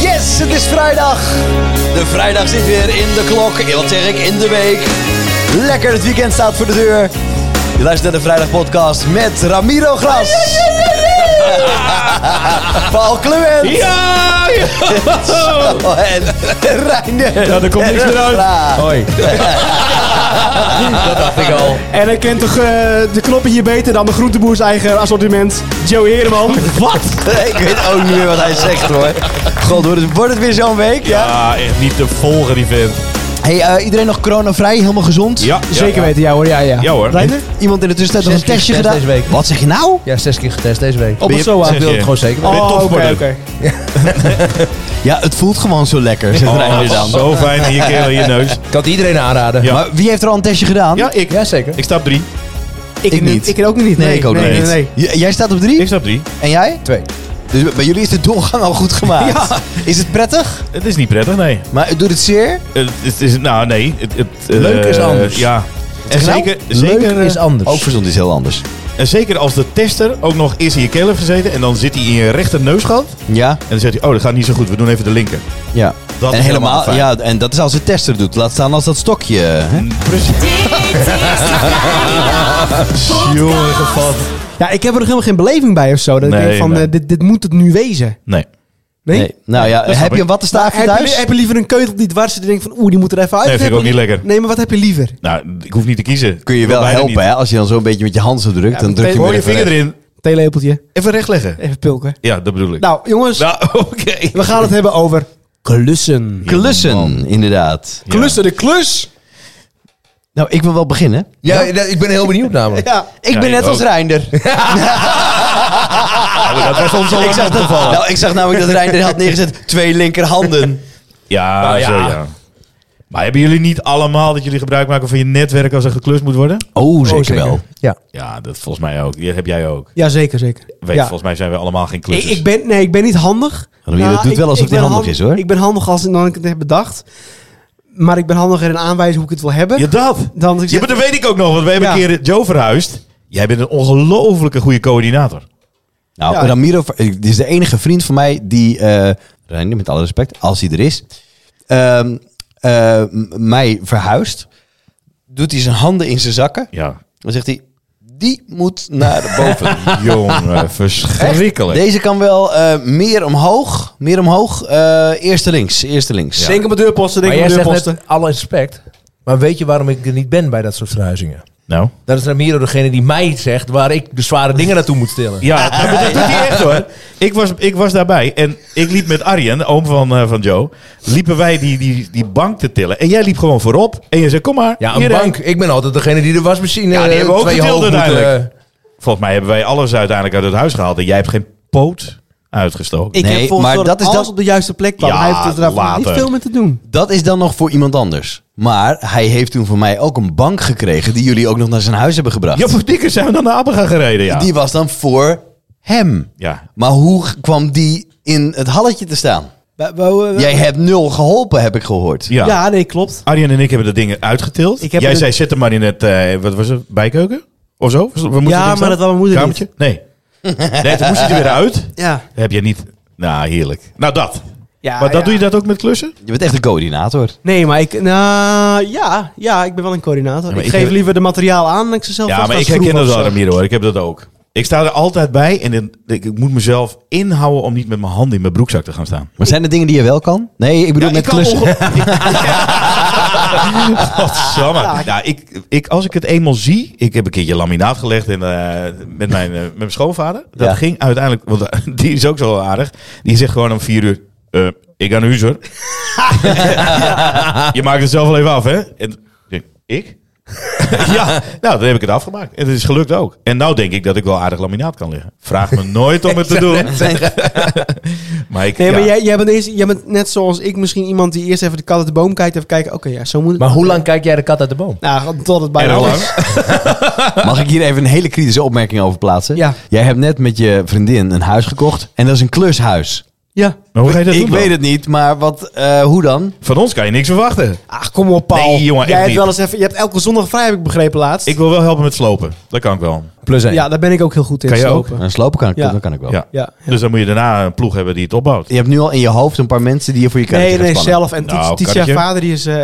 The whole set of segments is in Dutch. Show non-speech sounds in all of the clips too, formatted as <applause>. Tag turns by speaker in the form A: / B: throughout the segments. A: is, het is vrijdag. De vrijdag zit weer in de klok. Wat zeg ik, in de week. Lekker, het weekend staat voor de deur. Je luistert naar de Vrijdag Podcast met Ramiro Gras. <laughs> Paul Clement.
B: Ja!
A: Zo, En Reiner.
C: Ja, er komt niks meer uit.
A: Raar.
C: Hoi.
B: Dat dacht ik al.
C: En hij kent toch eh, de knoppen hier beter dan de groenteboers eigen assortiment, Joe Heerman. Wat?
A: <laughs> Ik weet ook niet meer wat hij zegt hoor. God, wordt het, wordt het weer zo'n week? Ja.
B: Ja, Ah, echt niet te volgen die vent.
A: Hey, eh, iedereen nog coronavrij, helemaal gezond?
B: Ja,
C: Zeker weten, ja hoor. Ja, ja.
B: Ja hoor.
C: Reiner?
A: Iemand in de tussentijd nog
D: Zes
A: een testje
D: keer
A: gedaan?
D: getest deze week.
A: Wat zeg je nou?
D: Ja, zes keer getest deze week.
C: Op
A: Ben
C: het
A: je-
C: SOA.
D: Ik wil het
B: je.
D: gewoon zeker weten.
C: Oh, oké,
B: topsporter.
C: oké.
A: Ja, het voelt gewoon zo lekker,
B: Oh.
A: zegt Reiner dan.
B: zo fijn hier kerel in je neus.
D: Ik kan het iedereen aanraden.
B: Ja.
A: Maar wie heeft er al een testje gedaan?
B: Ja, ik.
D: Ja, zeker.
B: Ik sta op drie.
C: Ik,
A: Ik
C: niet.
A: niet.
C: Ik ook niet.
A: Nee, ik ook nog
C: nee,
A: niet.
C: Nee, nee.
A: J- jij staat op drie?
B: Ik sta op drie.
A: En jij?
D: Twee.
A: Dus bij jullie is de doorgang al goed gemaakt.
C: Ja.
A: Is het prettig?
B: Het is niet prettig, nee.
A: Maar doet het zeer?
B: Het, het is, nou, nee. Het, het, eh,
D: Leuk is anders.
B: Ja. En
A: Nou,
B: zeker,
D: Leuk
B: zeker, eh,
D: is anders.
A: Ook verzond is heel anders.
B: en zeker als de tester ook nog eerst in je keel heeft gezeten en dan zit hij in je rechter neusgat.
A: Ja,
B: En dan zegt hij, oh, dat gaat niet zo goed, we doen even de linker.
A: ja.
B: Dat
A: en
B: is helemaal fijn.
A: ja, en dat is als de tester doet. Laat staan als dat stokje. hè?
B: Precies. Jongen, gevat.
C: Ja, ik heb er nog helemaal geen beleving bij of zo. Dat ik
B: Nee,
C: denk van,
B: nee.
C: eh, dit, dit moet het nu wezen.
B: Nee.
C: Nee?
A: Nee. Nou ja,
B: snap
A: heb je
B: ik.
A: een wattenstaafje
C: Heb je, dus-
A: thuis?
C: heb je liever een keutel die dwars zit en denkt van, oeh, die moet er even uit?
B: Nee, vind
C: Of
B: ik
C: heb
B: ook
C: je-
B: niet lekker.
C: Nee, maar wat heb je liever?
B: Nou, ik hoef niet te kiezen.
A: Kun je
B: Ik wil
A: wel
B: bijna
A: helpen,
B: niet.
A: hè? Als je dan zo'n beetje met je hand zo drukt,
C: Ja,
A: dan
C: met
A: druk je
C: deze-
A: weer
B: Gooi je
A: even
B: vinger
A: weg.
B: erin.
C: Theelepeltje.
B: Even recht leggen.
C: Even pilken.
B: Ja, dat bedoel ik.
C: Nou, jongens.
B: Nou, <laughs> oké.
C: We gaan het hebben over klussen.
A: Klussen, inderdaad.
C: Klussen, de klus.
A: Nou, ik wil wel beginnen.
D: Ja, ja, ik ben heel benieuwd namelijk.
C: Ja.
A: Ik
B: Ja,
A: ben
B: ik
A: net
B: ook.
A: als Reinder.
B: Nou, dat was ons al
A: ik, zag dat,
B: opgevallen.
A: nou, ik zag namelijk dat Reinder had neergezet twee linkerhanden.
B: Ja,
D: Nou,
B: zo
D: ja.
B: ja. Maar hebben jullie niet allemaal dat jullie gebruik maken van je netwerk als er geklust moet worden?
A: Oh,
C: zeker.
D: Ja.
B: Ja, dat volgens mij ook. Die heb jij ook.
C: Ja, zeker, zeker.
B: Weet,
C: ja.
B: Volgens mij zijn we allemaal geen
C: Ik,
B: klussers.
C: ik ben, nee, ik ben niet handig. Nou,
A: Louis, dat doet
C: ik-
A: wel alsof
C: ik
A: hij
C: ben
A: handig is, hoor.
C: Ik ben handig als dan ik het heb bedacht. Maar ik ben handiger in aanwijzen hoe ik het wil hebben.
B: Ja, dat.
C: Dan dat ik
B: Ja,
C: zeg,
B: maar dat weet ik ook nog, want we hebben
C: Ja.
B: een keer Joe verhuisd. Jij bent een ongelofelijke goede coördinator.
A: Nou,
C: Ja.
A: Ramiro dit is de enige vriend van mij die, eh Reinder, met alle respect, als hij er is, ehm, eh, m- mij verhuist. Doet hij zijn handen in zijn zakken.
B: Ja.
A: Dan zegt hij, die moet naar boven.
B: Jongen, verschrikkelijk.
A: Deze kan wel eh, meer omhoog. Meer omhoog. eh eerste links. Eerste links.
C: Denk op mijn deurposten, denk
D: Maar
C: op
D: jij
C: mijn
D: zegt
C: deurposten.
D: net alle respect. Maar weet je waarom ik er niet ben bij dat soort verhuizingen?
B: Nou.
D: Dat is Ramiro degene die mij zegt waar ik de zware dingen naartoe moet tillen.
B: Ja, nou, maar dat doet hij echt hoor. Ik was, ik was daarbij en ik liep met Arjen, de oom van, eh, van Joe, liepen wij die, die, die bank te tillen. En jij liep gewoon voorop en je zei, kom maar.
D: Ja, een
B: hierheen.
D: bank. Ik ben altijd degene die de wasmachine
B: Ja, die
D: eh,
B: hebben we ook
D: twee
B: getild
D: hoog moet,
B: uiteindelijk.
D: eh,
B: Volgens mij hebben wij alles uiteindelijk uit het huis gehaald. En jij hebt geen poot uitgestoken.
C: Ik
A: Nee,
C: heb volgens
A: maar
C: mij
A: dat
C: dat
A: is
C: alles
A: dan-
C: op de juiste plek kwam.
B: Ja,
C: Hij heeft er daarvoor
B: later.
C: niet veel mee te doen.
A: Dat is dan nog voor iemand anders. Maar hij heeft toen voor mij ook een bank gekregen die jullie ook nog naar zijn huis hebben gebracht.
B: Ja, voor dikker zijn we dan naar Appelga gereden, ja.
A: Die was dan voor hem.
B: Ja.
A: Maar hoe g- kwam die in het halletje te staan?
C: Wa- wa- wa-
A: Jij hebt nul geholpen, heb ik gehoord.
B: Ja.
C: Ja, nee, klopt.
B: Arjen en ik hebben dat ding uitgetild.
C: Ik heb
B: jij
C: het-
B: zei, zet hem maar in het, eh, wat was het, bijkeuken? Of zo? We moesten
C: Ja,
B: erin
C: maar
B: staan?
C: dat had mijn moeder
B: Kamertje? Nee. Nee, toen moest hij er weer uit.
C: Ja.
B: Heb je niet... Nou, heerlijk. Nou, dat.
C: ja
B: maar dat
C: ja.
B: doe je dat ook met klussen?
A: Je bent echt een coördinator.
C: Nee, maar ik... Nou, ja, ja, ik ben wel een coördinator.
B: maar
C: ik,
B: ik
C: geef
B: heb-
C: liever de materiaal aan dan ik ze zelf
B: Ja,
C: vast
B: maar
C: ga
B: ik herken
C: schroeven
B: dat
C: of
B: wel,
C: zo.
B: Ramiro. hoor. Ik heb dat ook. Ik sta er altijd bij en dan- ik, ik moet mezelf inhouden om niet met mijn handen in mijn broekzak te gaan staan.
A: Maar zijn er dingen die je wel kan? Nee, ik bedoel
B: Ja,
A: met
B: ik kan
A: klussen.
B: <laughs> Godsamme. Nou, ik, ik, als ik het eenmaal zie... Ik heb een keertje laminaat gelegd in, eh, met, mijn, eh, met mijn schoonvader. Dat
A: Ja.
B: ging uiteindelijk... Want eh, <laughs> die is ook zo aardig. Die zegt gewoon om vier uur... eh, ik ga naar huis hoor. Je maakt het zelf wel even af, hè? En, ik, ik? ja, nou, dan heb ik het afgemaakt. En het is gelukt ook. En nou denk ik dat ik wel aardig laminaat kan leggen. Vraag me nooit om het te doen. <laughs> maar ik,
C: Nee, maar
B: ja.
C: jij, jij, bent eens- jij bent net zoals ik misschien iemand die eerst even de kat uit de boom kijkt. Even kijken, oké, ja, zo moet het.
D: Maar hoe lang kijk jij de kat uit de boom?
C: Nou, tot het
B: En
C: bijna
B: hoe
C: al
B: lang?
C: is.
A: <laughs> Mag ik hier even een hele kritische opmerking over plaatsen?
C: Ja.
A: Jij hebt net met je vriendin een huis gekocht en dat is een klushuis. Ja.
B: Maar hoe ga je dat
A: ik
B: doen dan?
A: weet het niet, maar wat, eh, hoe dan?
B: Van ons kan je niks verwachten.
C: Ach, kom op, Paul.
B: Nee, jongen,
C: Jij
B: echt
C: hebt wel
B: niet.
C: eens even, je hebt elke zondag vrij, heb ik begrepen laatst.
B: Ik wil wel helpen met slopen. Dat kan ik wel.
A: Plus één.
C: ja, daar ben ik ook heel goed in.
B: Kan je
C: slopen.
A: Een slopen kan ik,
C: Ja.
A: dat kan ik wel.
B: Ja.
C: Ja.
B: Dus dan moet je daarna een ploeg hebben die het opbouwt.
A: Je hebt nu al in je hoofd een paar mensen die je voor je karretje
C: Nee, nee,
A: gaan spannen.
C: zelf. En
B: Nou,
C: Tiet- Tiet,
B: karretje.
C: haar vader, die is, eh,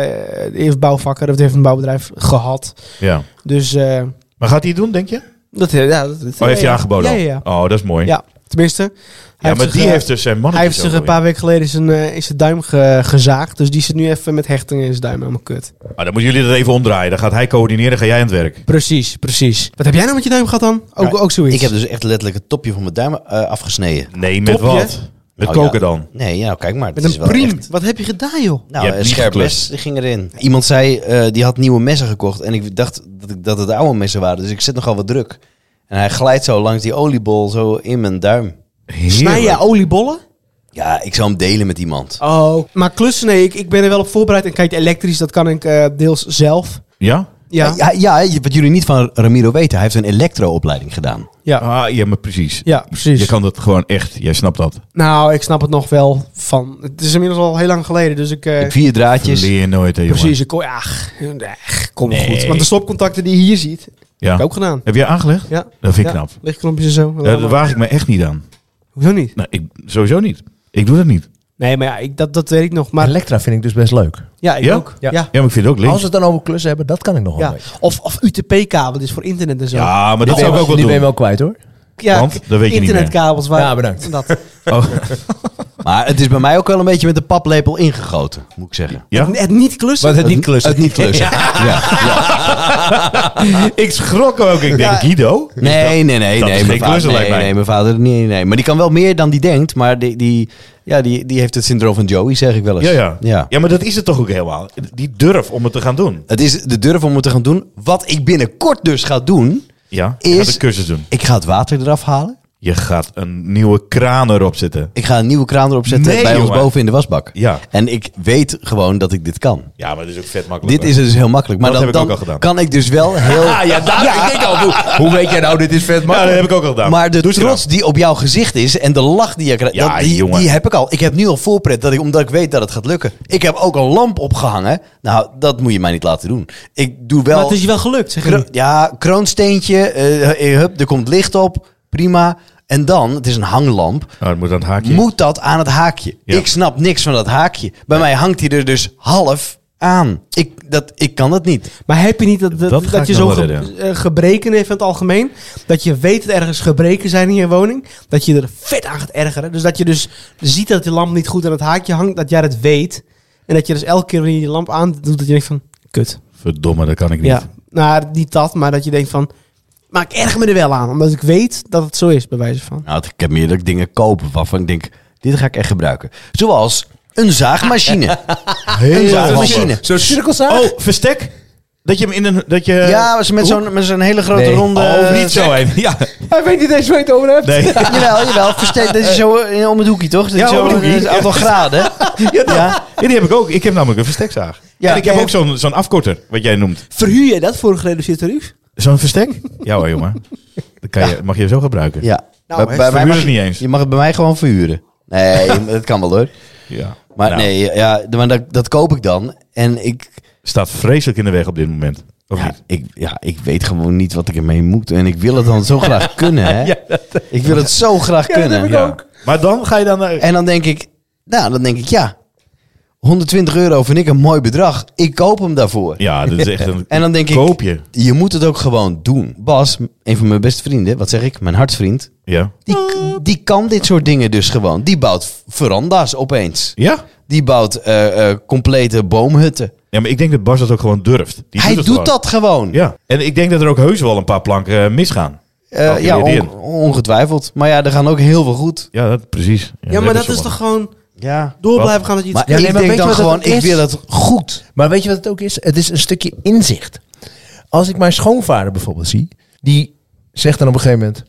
C: die heeft bouwvakker, dat heeft een bouwbedrijf gehad.
B: Ja.
C: Dus eh,
B: Maar gaat hij het doen, denk je?
C: dat, ja, dat, dat-
B: Oh, heeft
C: ja,
B: hij aangeboden
C: Ja,
B: al?
C: ja, ja.
B: Oh, dat is mooi.
C: Ja, tenminste. hij
B: Ja, maar
C: zich,
B: die
C: eh,
B: heeft dus zijn
C: Hij heeft zich een paar weken geleden zijn, eh, is zijn duim ge- gezaagd. Dus die zit nu even met hechtingen in zijn duim. Helemaal kut.
B: Maar Ah, dan moeten jullie dat even omdraaien. Dan gaat hij coördineren, ga jij aan het werk.
C: Precies, precies. Wat heb jij nou met je duim gehad dan? Ook,
A: Ja,
C: ook zoiets.
A: Ik heb dus echt letterlijk het topje van mijn duim eh, afgesneden.
B: Nee, met
C: Topje.
B: wat? Met
A: Oh,
B: koken
A: ja.
B: dan.
A: Nee, ja, kijk maar. het
C: met
A: is
C: een
A: wel
C: priem.
A: echt-
C: Wat heb je gedaan,
A: Nou,
C: joh?
B: Je
A: een
B: hebt niet
A: scherp
B: geklust.
A: mes ging erin. Iemand zei, eh, die had nieuwe messen gekocht. En ik dacht dat, ik, dat het oude messen waren. Dus ik zit nogal wat druk. En hij glijdt zo langs die oliebol zo in mijn duim.
C: Snij je oliebollen?
A: Ja, ik zou hem delen met iemand.
C: Oh. Maar klussen, nee, ik, ik ben er wel op voorbereid. En kijk, elektrisch, dat kan ik eh, deels zelf.
B: Ja?
C: Ja, ja.
A: Eh, Ja, ja, je- wat jullie niet van Ramiro weten. Hij heeft een elektroopleiding gedaan.
C: ja.
B: Ah, ja, maar precies.
C: precies.
B: Je kan dat gewoon echt. Jij snapt dat.
C: Nou, ik snap het nog wel van. Het is inmiddels al heel lang geleden, dus ik. eh,
A: Vier draadjes.
B: Leer je nooit, hè, jongen.
C: precies, ik. Ja, ach, ach, kom maar
B: Nee.
C: goed. Want de stopcontacten die je hier ziet, heb ik
B: Ja.
C: ook gedaan.
B: Heb jij aangelegd?
C: Ja.
B: Dat vind ik
C: Ja,
B: knap.
C: Lichtknompjes en zo.
B: Eh, Daar waag ik me echt niet aan.
C: Hoezo niet?
B: Nou, ik, sowieso niet. Ik doe dat niet.
C: Nee, maar ja, ik, dat, dat weet ik nog. Maar
D: Elektra vind ik dus best leuk.
C: ja, ik
B: Ja?
C: ook. Ja.
D: Ja.
B: Ja, maar ik vind het ook
D: Als
B: links.
D: we het dan over klussen hebben, dat kan ik nog wel.
C: Ja.
D: een beetje.
C: Of, of UTP-kabel, is voor internet en zo.
B: Ja, maar
D: Die
B: dat zou
D: ben-
B: ik ook wel
D: die ben je
B: doen.
D: wel kwijt hoor.
C: Ja,
B: want?
C: k-
B: Dat weet je niet meer.
C: internetkabels. Waar,
D: Ja, bedankt.
C: Dat.
B: Oh,
A: <laughs> Maar het is bij mij ook wel een beetje met de paplepel ingegoten, moet ik zeggen.
B: ja?
C: Het niet klussen.
D: Want het niet klussen.
A: Het niet
D: <laughs>
A: klussen.
B: ik schrok ook. Ik denk,
C: Ja.
B: Guido?
A: Nee, nee, nee.
B: dat
A: nee, mijn
B: is geen
A: vader,
B: klussen,
A: nee,
B: lijkt mij.
A: nee, mijn vader nee, nee. Maar die kan wel meer dan die denkt. Maar die, die, ja, die, die heeft het syndroom van Joey, zeg ik wel eens.
B: Ja, ja.
A: ja.
B: ja, maar dat is het toch ook helemaal. Die durf om het te gaan doen.
A: Het is de durf om het te gaan doen. Wat ik binnenkort dus ga doen,
B: Ja, je
A: Is-
B: gaat een cursus doen.
A: ik ga het water eraf halen.
B: Je gaat een nieuwe kraan erop zitten.
A: Ik ga een nieuwe kraan erop zetten
B: Nee,
A: bij ons
B: jongen.
A: boven in de wasbak.
B: Ja.
A: En ik weet gewoon dat ik dit kan.
B: Ja, maar dat is ook vet makkelijk.
A: Dit is dus heel makkelijk. Maar
B: Dat
A: dan,
B: heb ik ook
A: dan
B: al gedaan.
A: kan ik dus wel
B: <laughs>
A: heel...
D: Ah ja, daar ik denk al. Hoe, hoe weet jij nou, dit is vet
B: Ja, dat
D: makkelijk?
B: heb ik ook al gedaan.
A: Maar de
B: Doe ze dan.
A: trots die op jouw gezicht is en de lach die je krijgt,
B: Ja,
A: dat- die,
B: jongen.
A: die heb ik al. Ik heb nu al voorpret, dat ik, omdat ik weet dat het gaat lukken. Ik heb ook een lamp opgehangen. Nou, dat moet je mij niet laten doen. Ik doe
C: Maar
A: wel...
C: het is je wel gelukt, zeg
A: kro-
C: je.
A: ja, kroonsteentje, eh, hup, er komt licht op, prima. En dan, het is een hanglamp,
B: Oh, het moet aan het haakje.
A: moet dat aan het haakje.
B: Ja.
A: Ik snap niks van dat haakje. Bij mij hangt hij er dus half aan. Ik, dat, ik kan dat niet.
C: Maar heb je niet dat, dat,
B: Dat
C: dat,
B: ga ik
C: je
B: nog
C: zo
B: wel
C: ge-
B: redden.
C: eh, gebreken heeft in het algemeen? Dat je weet dat ergens gebreken zijn in je woning. Dat je er vet aan gaat ergeren. Dus dat je dus ziet dat die lamp niet goed aan het haakje hangt. Dat jij dat weet. En dat je dus elke keer wanneer je die lamp aandoet, dat je denkt van... Kut.
B: Verdomme, dat kan ik niet.
C: Ja, nou, niet dat, maar dat je denkt van... Maar ik erger me er wel aan, omdat ik weet dat het zo is, bij wijze van.
A: Nou, ik heb meer dat ik dingen koop waarvan ik denk, dit ga ik echt gebruiken. Zoals <laughs> een zaagmachine. een zaagmachine.
D: Zo'n cirkelzaag?
B: Oh, verstek? Dat je hem in een... Dat je,
A: Ja, was met zo'n, met zo'n hele grote
D: Nee.
A: ronde...
B: Oh, niet zo heen. Ja.
D: Hij weet niet eens waar je het over hebt.
B: Nee.
A: <laughs> Jawel, jawel. Versteed, dat is zo eh, om het hoekje, toch? Dat
B: Ja,
A: is zo eh,
B: om het hoekje.
A: een aantal
B: <laughs>
A: graden.
B: Ja, dat-
A: Ja.
B: ja, die heb ik ook. Ik heb namelijk een verstekzaag.
A: Ja.
B: en ik heb
A: Ja.
B: ook zo'n zo'n afkorter, wat jij noemt.
C: Verhuur je dat voor een gereduceerd tarief?
B: Zo'n verstek? Ja hoor, jongen. Dat kan je, mag je zo gebruiken.
A: Ja.
C: Nou,
A: Bij-
C: hè,
A: bij mij
B: verhuur
A: mag
B: het
A: je-
B: niet eens.
A: Je mag het bij mij gewoon verhuren. Nee, <laughs> je- dat kan wel hoor.
B: Ja.
A: Maar
B: Nou,
A: nee, ja, maar dat, dat koop ik dan. En ik,
B: Staat vreselijk in de weg op dit moment. Of
A: ja,
B: niet?
A: ik, ja, ik weet gewoon niet wat ik ermee moet. En ik wil het dan zo graag
B: <laughs>
A: kunnen, hè? ik wil het zo graag kunnen.
B: Ja. Maar dan ga je dan... naar-
A: En dan denk ik, nou, dan denk ik, ja, 120 euro vind ik een mooi bedrag. Ik koop hem daarvoor.
B: Ja, dat is echt een
A: En dan denk ik,
B: koopje.
A: je moet het ook gewoon doen. Bas, een van mijn beste vrienden, wat zeg ik, mijn hartvriend,
B: Ja.
A: die, die kan dit soort dingen dus gewoon. Die bouwt veranda's opeens.
B: Ja?
A: Die bouwt eh, eh, complete boomhutten.
B: Ja, maar ik denk dat Bas dat ook gewoon durft. Die
A: Hij doet,
B: het gewoon.
A: dat gewoon. Ja,
B: Ja. En ik denk dat er ook heus wel een paar planken eh, misgaan. Oh,
A: ja
B: die
A: on- ongetwijfeld. Maar ja, er gaan ook heel veel goed.
B: Ja, dat, precies.
C: Ja, maar dat is toch gewoon
A: Ja.
C: door
B: Wat?
C: blijven gaan dat je iets...
A: Maar
D: Ja, nee,
A: ik
D: maar
A: denk
D: weet je
A: dan
D: wat het
A: gewoon, ik
D: is?
A: wil het goed.
D: Maar weet je wat het ook is? Het is een stukje inzicht. Als ik mijn schoonvader bijvoorbeeld zie, die zegt dan op een gegeven moment: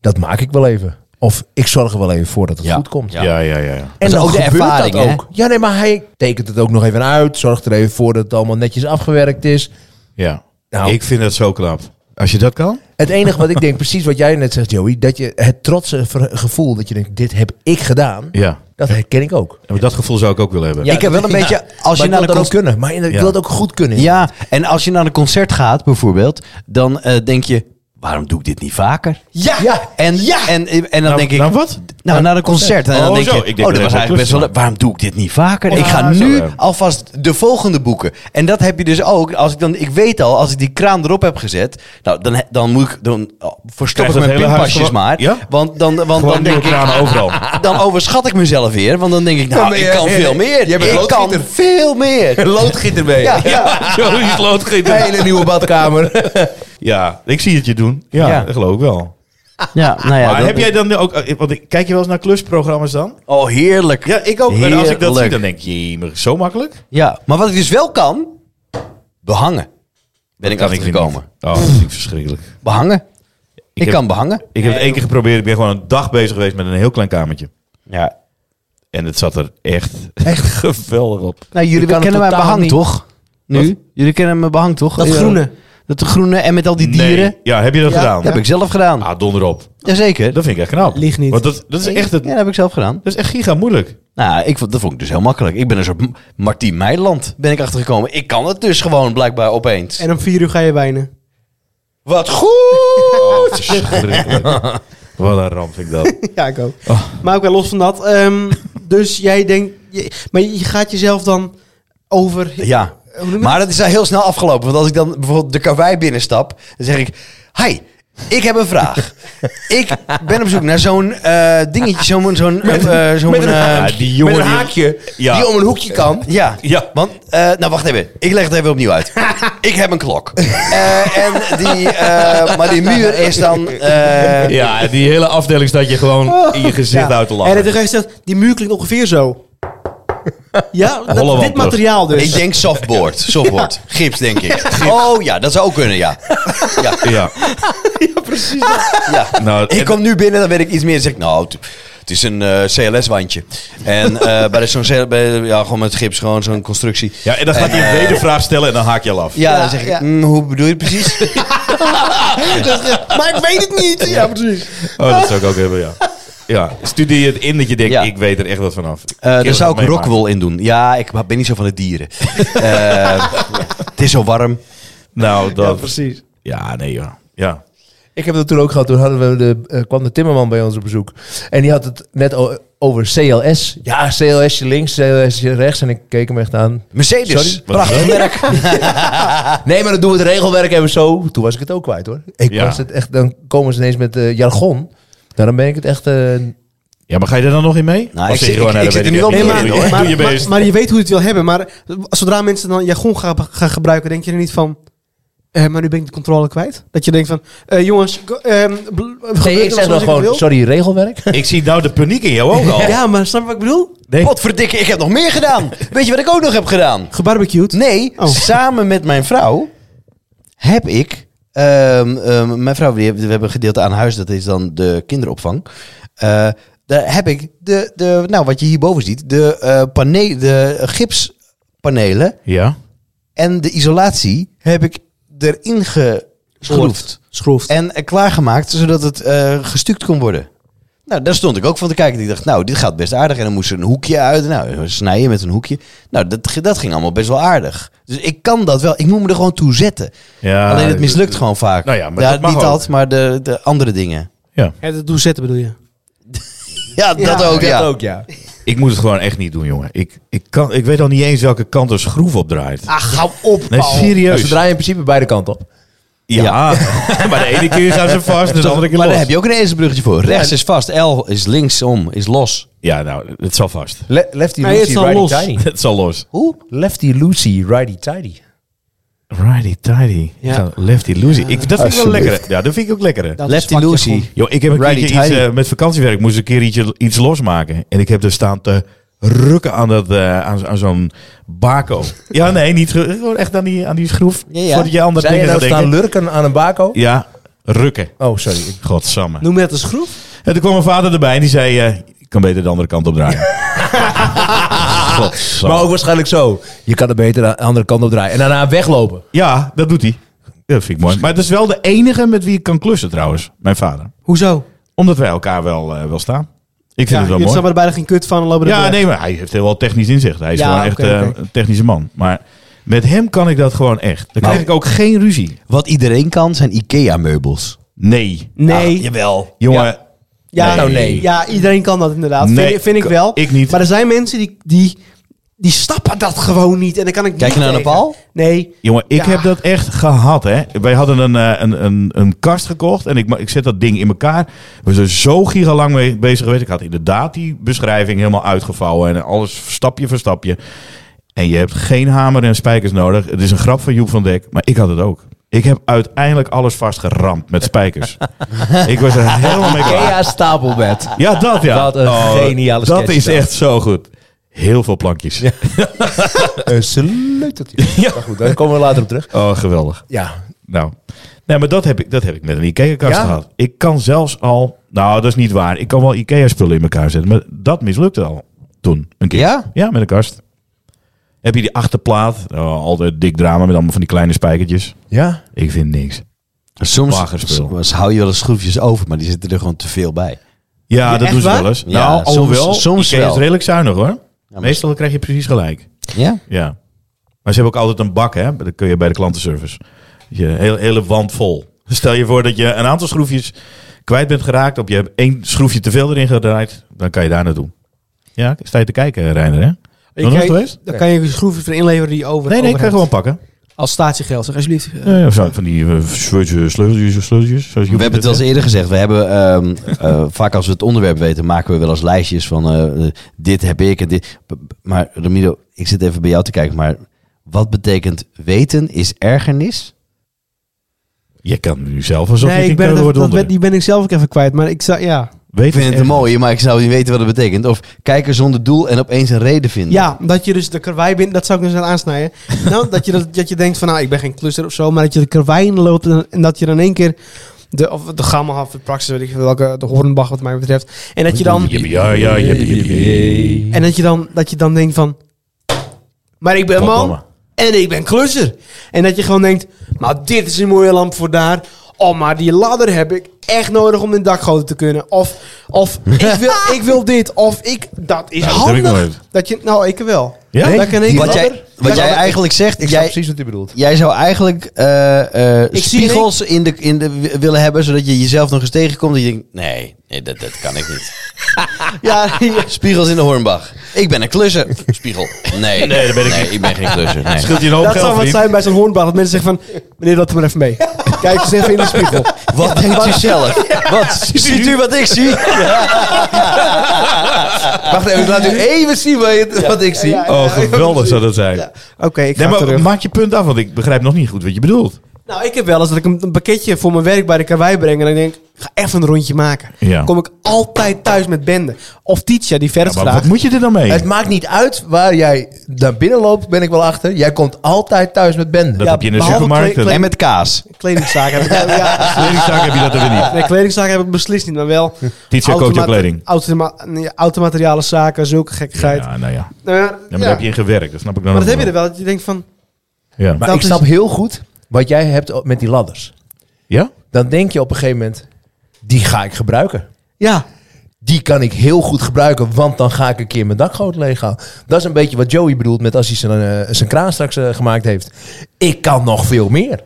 D: dat maak ik wel even. Of ik zorg er wel even voor dat het
A: Ja.
D: goed komt.
B: Ja, ja, ja. ja.
D: En
A: Dat
D: dan
A: is ook de
D: gebeurt
A: ervaring,
D: dat
A: hè?
D: ook. Ja, nee, maar hij tekent het ook nog even uit. Zorgt er even voor dat het allemaal netjes afgewerkt is.
B: ja.
D: Nou.
B: Ik vind dat zo knap. Als je dat kan?
D: Het enige wat ik <laughs> denk, precies wat jij net zegt, Joey, dat je het trotse ver- gevoel dat je denkt: dit heb ik gedaan.
B: Ja.
D: Dat herken ik ook.
B: En dat gevoel zou ik ook willen hebben.
A: ik heb wel <laughs> een beetje- als
D: als
A: je
D: je
A: naar de
D: nou dat ook
A: cons-
D: kunnen, maar in- ik
B: Ja.
D: wil het ook goed kunnen.
A: Ja, en als je naar een concert gaat bijvoorbeeld, dan eh, denk je, waarom doe ik dit niet vaker?
D: ja. ja.
A: En, en, en dan
B: Nou,
A: denk ik...
B: nou wat?
A: Nou, naar een concert. En dan
B: Oh,
A: denk
B: zo.
A: je,
B: Ik denk
A: oh, dat
B: dat
A: was
B: even
A: eigenlijk best wel...
B: klussen.
A: leuk. Waarom doe ik dit niet vaker? ik ga
B: Ja, zo,
A: nu
B: ja.
A: alvast de volgende boeken. En dat heb je dus ook. Als ik, dan, ik weet al, als ik die kraan erop heb gezet... Nou, dan, he- dan moet ik... Dan oh, verstop
B: Krijgt
A: ik mijn
B: het hele huis
A: pinpasjes
B: gewoon-
A: maar.
B: Ja?
A: Want dan, want
B: Gewoon
A: dan
B: nieuwe
A: denk ik...
B: kranen overal.
A: Dan overschat ik mezelf weer. Want dan denk ik,
D: Ja,
A: nou,
D: maar
A: ik
D: jij-
A: kan
D: jij-
A: veel meer.
D: jij bent
A: Ik kan
D: loodgieter.
A: veel meer.
D: <laughs> Loodgieter mee.
A: Ja,
D: Ja.
A: ja.
B: <laughs> Zo is loodgieter.
D: Hele nieuwe badkamer.
B: <laughs> Ja, ik zie het je doen. Ja,
A: Ja.
B: dat geloof ik wel.
A: ja nou ja.
B: maar
A: dat-
B: heb jij dan ook... eh, Want ik- kijk je wel eens naar klusprogramma's dan?
A: Oh, heerlijk.
B: Ja, ik ook. En als ik dat zie,
A: Heerlijk.
B: dan denk ik, jee, zo makkelijk?
A: Ja, maar wat ik dus wel kan... Behangen. Ben ik
B: Kan ik
A: achtergekomen.
B: niet. Oh, dat vind ik verschrikkelijk.
A: Behangen. Ik,
B: heb-
A: kan behangen.
B: Ik heb het één keer geprobeerd. Ik ben gewoon een dag bezig geweest met een heel klein kamertje.
A: Ja.
B: En het zat er echt, echt <laughs> geweldig op.
A: Nou, jullie
D: Ik kan
A: kennen mijn
D: het totaal
A: behang
D: niet.
A: toch? Nu? Jullie kennen mijn behang toch?
C: Dat
A: Ja.
C: groene.
A: Dat groene en met al die dieren.
B: Nee. Ja, heb je dat
C: Ja,
B: gedaan?
A: Dat heb ik zelf gedaan.
B: Ah, donder op.
A: Jazeker.
B: Dat vind ik echt knap.
C: Lieg niet.
B: Want dat, dat is echt het...
A: Ja, dat heb ik zelf gedaan.
B: Dat is echt giga moeilijk.
A: Nou, ik vond, dat vond ik dus heel makkelijk. Ik ben een soort M- Martien Meiland, ben ik achtergekomen. Ik kan het dus gewoon blijkbaar opeens.
C: En om vier uur ga je wijnen.
A: Wat goed!
B: Oh, het is verschrikkelijk. Wat een ramp vind ik dat.
C: ja, ik ook.
B: Oh.
C: Maar ook wel los van
B: <laughs>
C: dat. ehm, dus jij denkt... je- maar je gaat jezelf dan over...
A: Ja,
C: Hoe noem je
A: maar dat is al heel snel afgelopen. Want als ik dan bijvoorbeeld de karwei binnenstap, dan zeg ik... Hi, ik heb een vraag. ik ben op zoek naar zo'n eh, dingetje, zo'n... zo'n eh, zo'n,
D: met een-
A: eh,
B: Ja, die jongen...
D: Met een
B: die-
D: haakje
B: Ja.
D: die om een hoekje kan.
A: Ja,
B: Ja.
A: want... eh, nou, wacht even. Ik leg het even opnieuw uit. ik heb een klok. Eh, en die... eh, maar die muur is dan...
B: <laughs>
A: eh,
B: Ja, die hele afdeling staat je gewoon in je gezicht
C: Ja.
B: uit te
C: En
B: lachen.
C: dan ga je zeggen, die muur klinkt ongeveer
B: <laughs>
C: zo. ja, dat-
B: Holle
C: dit
B: wandbrug.
C: materiaal dus.
A: Ik denk softboard. Softboard. Gips, denk ik. Oh ja, dat zou ook kunnen, ja. ja,
B: Ja.
C: <laughs>
B: <laughs>
A: ja.
B: Nou,
A: Ik kom nu binnen, dan weet ik iets meer. Dan zeg ik, nou, t- het is een eh, CLS-wandje. En eh, <laughs> bij de- zo'n CL bij, ja, gewoon met gips, gewoon zo'n constructie.
B: ja, en dan gaat hij een wedervraag stellen en dan haak je al af.
A: Ja,
C: Ja,
A: dan zeg ik,
C: ja.
A: "Mm, hoe bedoel je het
B: <laughs>
A: precies? Eh,
C: maar ik weet het niet. Ja, precies.
B: Oh, dat zou ik ook hebben, ja. Ja, studeer je het in dat je denkt,
A: Ja.
B: ik weet er echt wat vanaf.
A: Eh daar zou ik
B: Rockwell.
A: Rockwell in doen. Ja, ik ben niet zo van de
B: <laughs>
A: dieren. Eh, Het is zo warm.
B: Nou,
D: Ja,
B: dat...
D: precies.
B: Ja, nee, ja. Ja.
D: Ik heb dat toen ook gehad. Toen hadden we de, eh, kwam de timmerman bij ons op bezoek. En die had het net o- over CLS. Ja, CLSje links, CLSje rechts. En ik keek hem echt aan.
A: Mercedes.
D: Sorry?
A: Prachtig merk.
D: <laughs> Nee, maar dan doen we het regelwerk even zo. Toen was ik het ook kwijt hoor. Ik
B: Ja.
D: was het echt, dan komen ze ineens met eh, jargon. Daarom ben ik het echt... eh,
B: Ja, maar ga je er dan nog in mee?
A: Nou,
B: Of
A: ik
B: zeg je
A: zit- ik-
B: nou,
A: ik
B: dat
A: zit
B: weet
A: er nu
B: echt
A: al
B: niet.
A: middenin,
B: <laughs> Doe
A: hoor.
B: je-
C: maar,
B: Doe je
C: maar-
B: best.
C: maar je weet hoe je het wil hebben. Maar zodra mensen dan jargon gaan, gaan gebruiken, denk je er niet van... eh, maar nu ben ik de controle kwijt. Dat je denkt van, eh, jongens, go- ehm, bl- gebeurt
D: Nee, ik
C: er
D: zeg
C: zoals
D: dan
C: het wil?
D: gewoon, sorry,
B: <laughs>
D: regelwerk.
B: Ik zie nou de paniek in jou ook al.
C: Ja, maar snap je wat ik bedoel?
B: Nee.
A: Potverdikke, ik heb nog meer gedaan. Weet je wat ik ook nog heb gedaan?
C: Gebarbecued.
A: Nee,
C: Oh.
A: samen met mijn vrouw heb ik. ehm, ehm, mijn vrouw, die heeft- we hebben een gedeelte aan huis, dat is dan de kinderopvang. Eh, daar heb ik de, de, nou wat je hierboven ziet, de, eh pane- de gipspanelen
B: Ja.
A: en de isolatie heb ik erin geschroefd.
C: Schroefd.
A: En eh, klaargemaakt, zodat het eh, gestuukt kon worden. Nou, daar stond ik ook van te kijken. Ik dacht, nou, dit gaat best aardig. En dan moest er een hoekje uit. Nou, snijden met een hoekje. Nou, dat, ge- dat ging allemaal best wel aardig. Dus ik kan dat wel. Ik moet me er gewoon toe zetten.
B: Ah, ja.
A: Alleen het mislukt gewoon vaak.
B: Nou ja, maar dat mag
A: niet
B: ook.
A: dat, maar de, de andere dingen.
B: Ja.
C: Ja, dat doe zetten bedoel je?
A: Ja, dat ook, ja.
D: ook, <laughs> ja.
B: Ik moet het gewoon echt niet doen, jongen. Ik, ik, kan, ik weet al niet eens welke kant een schroef opdraait.
A: Ah.
C: Ach, hou op,
B: Nee, serieus.
D: Ze draaien in principe beide kanten op.
B: Ja, <laughs> maar de ene keer gaan ze vast en de andere keer
A: maar
B: los.
A: daar heb je ook een ezelsbruggetje voor. Rechts is vast, L is linksom, is los.
B: Ja, nou, het zal vast.
D: Le- lefty
C: Nee, het
D: Lucy,
C: is al
D: righty
C: los.
D: tighty.
B: Het zal los.
A: Hoe?
D: Lefty Lucy, righty tighty.
B: Righty tighty.
C: Ja.
B: Ja. Lefty loosey. Ik, dat vind ik wel
D: Alsjeblieft.
B: lekker. Ja, dat vind ik ook lekker.
C: Dat is
A: Lefty
C: wat je
A: Lucy.
C: kon.
B: Yo, ik heb een
A: Righty
B: keertje iets,
A: tighty.
B: eh, met vakantiewerk moest ik een keer ietsje, iets losmaken. En ik heb er staan te rukken aan, dat, eh, aan, zo- aan zo'n bako. Ja, nee, niet ge- gewoon echt aan die, aan die schroef.
A: Ja, ja.
B: Voordat je andere
D: Zijn je
B: dingen gaat
D: nou staan
B: denken.
D: lurken aan een bako?
B: Ja, rukken.
D: Oh, sorry. ik-
B: Godsamme.
C: Noem je dat een schroef?
B: En toen kwam mijn vader erbij en die zei... eh je kan beter de andere kant op draaien. <laughs> Godsamme.
D: Maar ook waarschijnlijk zo. Je kan het beter aan de andere kant op draaien. En daarna weglopen.
B: Ja, dat doet hij. Dat vind ik mooi. Maar het is wel de enige met wie ik kan klussen trouwens. Mijn vader.
C: Hoezo?
B: Omdat wij elkaar wel, eh, wel staan. Ik vind
C: Ja,
B: het wel
C: jullie
B: mooi.
C: snappen er bijna geen kut van. en Lopen er
B: Ja,
C: doorheen.
B: nee, maar hij heeft heel wel technisch inzicht. Hij is
C: Ja,
B: gewoon echt
C: oké,
B: eh,
C: oké.
B: een technische man. Maar met hem kan ik dat gewoon echt. Nou. Dan krijg ik ook geen ruzie.
A: Wat iedereen kan, zijn IKEA-meubels.
B: Nee. Ah,
C: Nee.
A: Ach, jawel.
B: Jongen,
C: ja,
B: nou,
C: nee.
B: nee.
C: Ja, iedereen kan dat inderdaad.
B: Nee,
C: vind, vind ik
B: ik-
C: wel.
B: ik niet.
C: Maar er zijn mensen die, die, die snappen dat gewoon niet. En dan kan ik
A: Kijk je
C: niet
A: nou naar
C: tegen.
A: Paul?
C: Nee.
B: jongen ik
C: Ja.
B: heb dat echt gehad. Hè. Wij hadden een, eh, een, een, een kast gekocht en ik, ma- ik zet dat ding in elkaar. We zijn zo gigalang mee bezig geweest. Ik had inderdaad die beschrijving helemaal uitgevouwen en alles stapje voor stapje. En je hebt geen hamer en spijkers nodig. Het is een grap van Joep van Dek, maar ik had het ook. Ik heb uiteindelijk alles vastgeramd met spijkers. ik was er helemaal mee klaar.
D: Kea <laughs> Stapelbed.
B: Ja, dat ja. Oh,
D: Wat een geniale
B: Dat
D: sketch
B: is
D: dat.
B: echt zo goed. Heel veel plankjes. Eh,
D: Een sleuteltje.
B: Ja.
D: Maar goed, daar komen we later op terug.
B: Oh, geweldig.
D: Ja,
B: Nou. Nee, maar dat heb ik, dat heb ik met een IKEA-kast
D: Ja?
B: gehad. Ik kan zelfs al... Nou, dat is niet waar. Ik kan wel IKEA-spullen in elkaar zetten. Maar dat mislukte al toen. Een keer.
A: Ja?
B: Ja, met een kast. Heb je die achterplaat. Oh, altijd dik drama met allemaal van die kleine spijkertjes.
D: ja.
B: Ik vind niks.
A: Soms,
B: Lagerspul.
A: soms hou je wel eens schroefjes over, maar die zitten er gewoon te veel bij.
B: Ja,
C: echt
B: dat doen ze
C: waar?
B: wel eens.
A: Ja,
B: nou,
A: soms-
B: alhoewel,
A: soms
B: IKEA
A: wel.
B: is redelijk zuinig hoor.
A: maar-
B: Meestal krijg je precies gelijk.
A: Ja?
B: Ja. Maar ze hebben ook altijd een bak, hè? Dat kun je bij de klantenservice. Je hele, hele wand vol. Stel je voor dat je een aantal schroefjes kwijt bent geraakt. Of je hebt één schroefje te veel erin gedraaid. Dan kan je daar naartoe. Ja, sta je te kijken, Reiner, hè? Nog nooit
C: Kijk,
B: geweest?
C: Dan kan je een schroefje voor inleveren die je over
B: Nee, nee, ik
C: over
B: kan
C: hebt.
B: gewoon pakken.
C: Als statiegeld, zeg alsjeblieft. Eh,
B: Ja, ja, zo, van die eh, sleuteltjes, sleuteltjes, sleuteltjes. zoals
A: We
B: Joep
A: hebben het wel
B: dat
A: eens
B: zegt.
A: eerder gezegd. We hebben ehm, eh, vaak als we het onderwerp weten, maken we wel eens lijstjes van eh, dit heb ik en dit. B- b- Maar Ramiro, ik zit even bij jou te kijken. Maar wat betekent weten is ergernis?
B: Je kan nu zelf alsof
C: nee,
B: je
C: ik ben het
B: het
C: even-
B: wordt
C: dat
B: onder.
C: ben, die ben ik zelf ook even kwijt. Maar ik zou, ja.
A: Ik
B: Weet
A: vind het een mooie, maar ik zou niet weten wat het betekent. Of kijken zonder doel en opeens een reden vinden.
C: Ja, dat je dus de karwei bent, dat zou ik dus aan <laughs> aansnijden. nou, dat je, dat, dat je denkt van, nou, ik ben geen klusser of zo, maar dat je de karwei in loopt en, en dat je dan in één keer de, of de gamma of de praxis, weet ik veel welke, de hornbach wat mij betreft. En dat je dan,
B: Ja, ja, ja, ja, ja, ja.
C: en dat je dan, dat je dan denkt van, maar ik ben man
B: Goddomme.
C: en ik ben klusser. En dat je gewoon denkt, maar dit is een mooie lamp voor daar. Oh, maar die ladder heb ik echt nodig om in het dak goten te kunnen. Of,
A: <laughs>
C: of ik, wil, ik wil dit. Of ik, dat is
B: Nou, dat heb
C: handig.
B: ik nooit.
C: dat je, nou, ik wel.
B: Ja?
C: Dat kan ik
A: wat
C: wel.
A: jij, wat jij eigenlijk zegt,
D: Ik snap
A: jij,
D: precies wat u bedoelt.
A: jij zou eigenlijk eh, eh,
C: Ik zie
A: spiegels in de, in de, w- willen hebben, zodat je jezelf nog eens tegenkomt. Dat je denkt, nee, nee dat, dat kan ik <laughs> niet.
C: Ja, ja.
A: Spiegels in de Hornbach. Ik ben een klusser. Spiegel. Nee, nee,
B: dat ben ik
A: ik ben geen klusser. Nee.
B: Scheelt je een hoop
C: dat
B: geld,
C: zou wat
B: vriend.
C: zijn bij zo'n hoornbal. Dat mensen zeggen van, meneer, dat er maar even
A: <laughs>
C: mee. Kijk eens even in de spiegel.
A: <laughs> Wat denkt u zelf? <laughs> Wat, ziet u wat ik <laughs> zie? Wacht even, ik laat u even zien wat, je- wat ik zie.
C: Ja,
B: Oh, geweldig zou dat zijn.
C: Ja. Oké, ik ga
B: Nee, maar
C: terug.
B: maak je punt af, want ik begrijp nog niet goed wat je bedoelt.
C: Nou, ik heb wel eens dat ik een, een pakketje voor mijn werk bij de karwei breng. En ik denk, ik ga even een rondje maken.
B: Ja.
C: kom ik altijd thuis met benden. Of Titia, die verder
B: Ja, maar
C: vraagt.
B: wat moet je er dan mee?
D: Het maakt niet uit waar jij naar binnen loopt, ben ik wel achter. Jij komt altijd thuis met bende.
B: Dat
C: Ja,
B: heb je in de
C: behalve
B: supermarkt.
C: kle-
B: en-
A: En met kaas.
C: Kledingzaak heb ik ja.
B: <laughs> Kledingzaak heb je dat er weer niet.
C: Nee, kledingzaak heb ik beslist niet, maar wel...
B: Titia koopt jouw
C: automa-
B: kleding.
C: automa- nee, Automaterialen zaken, zulke gekkigheid.
B: Ja, nou ja.
C: Nou ja,
B: Ja, maar
C: ja.
B: daar heb je in gewerkt. Dat snap ik dan
C: Maar
B: ook
C: dat heb je er
B: wel.
C: wel. Dat je denkt van,
B: Ja.
D: Maar
C: dat
D: ik
C: is-
D: snap heel goed wat jij hebt met die ladders.
B: ja?
D: Dan denk je op een gegeven moment, die ga ik gebruiken.
C: ja,
D: Die kan ik heel goed gebruiken, want dan ga ik een keer mijn dakgoot leeghalen. Dat is een beetje wat Joey bedoelt met als hij zijn, eh, zijn kraan straks eh, gemaakt heeft. Ik kan nog veel meer.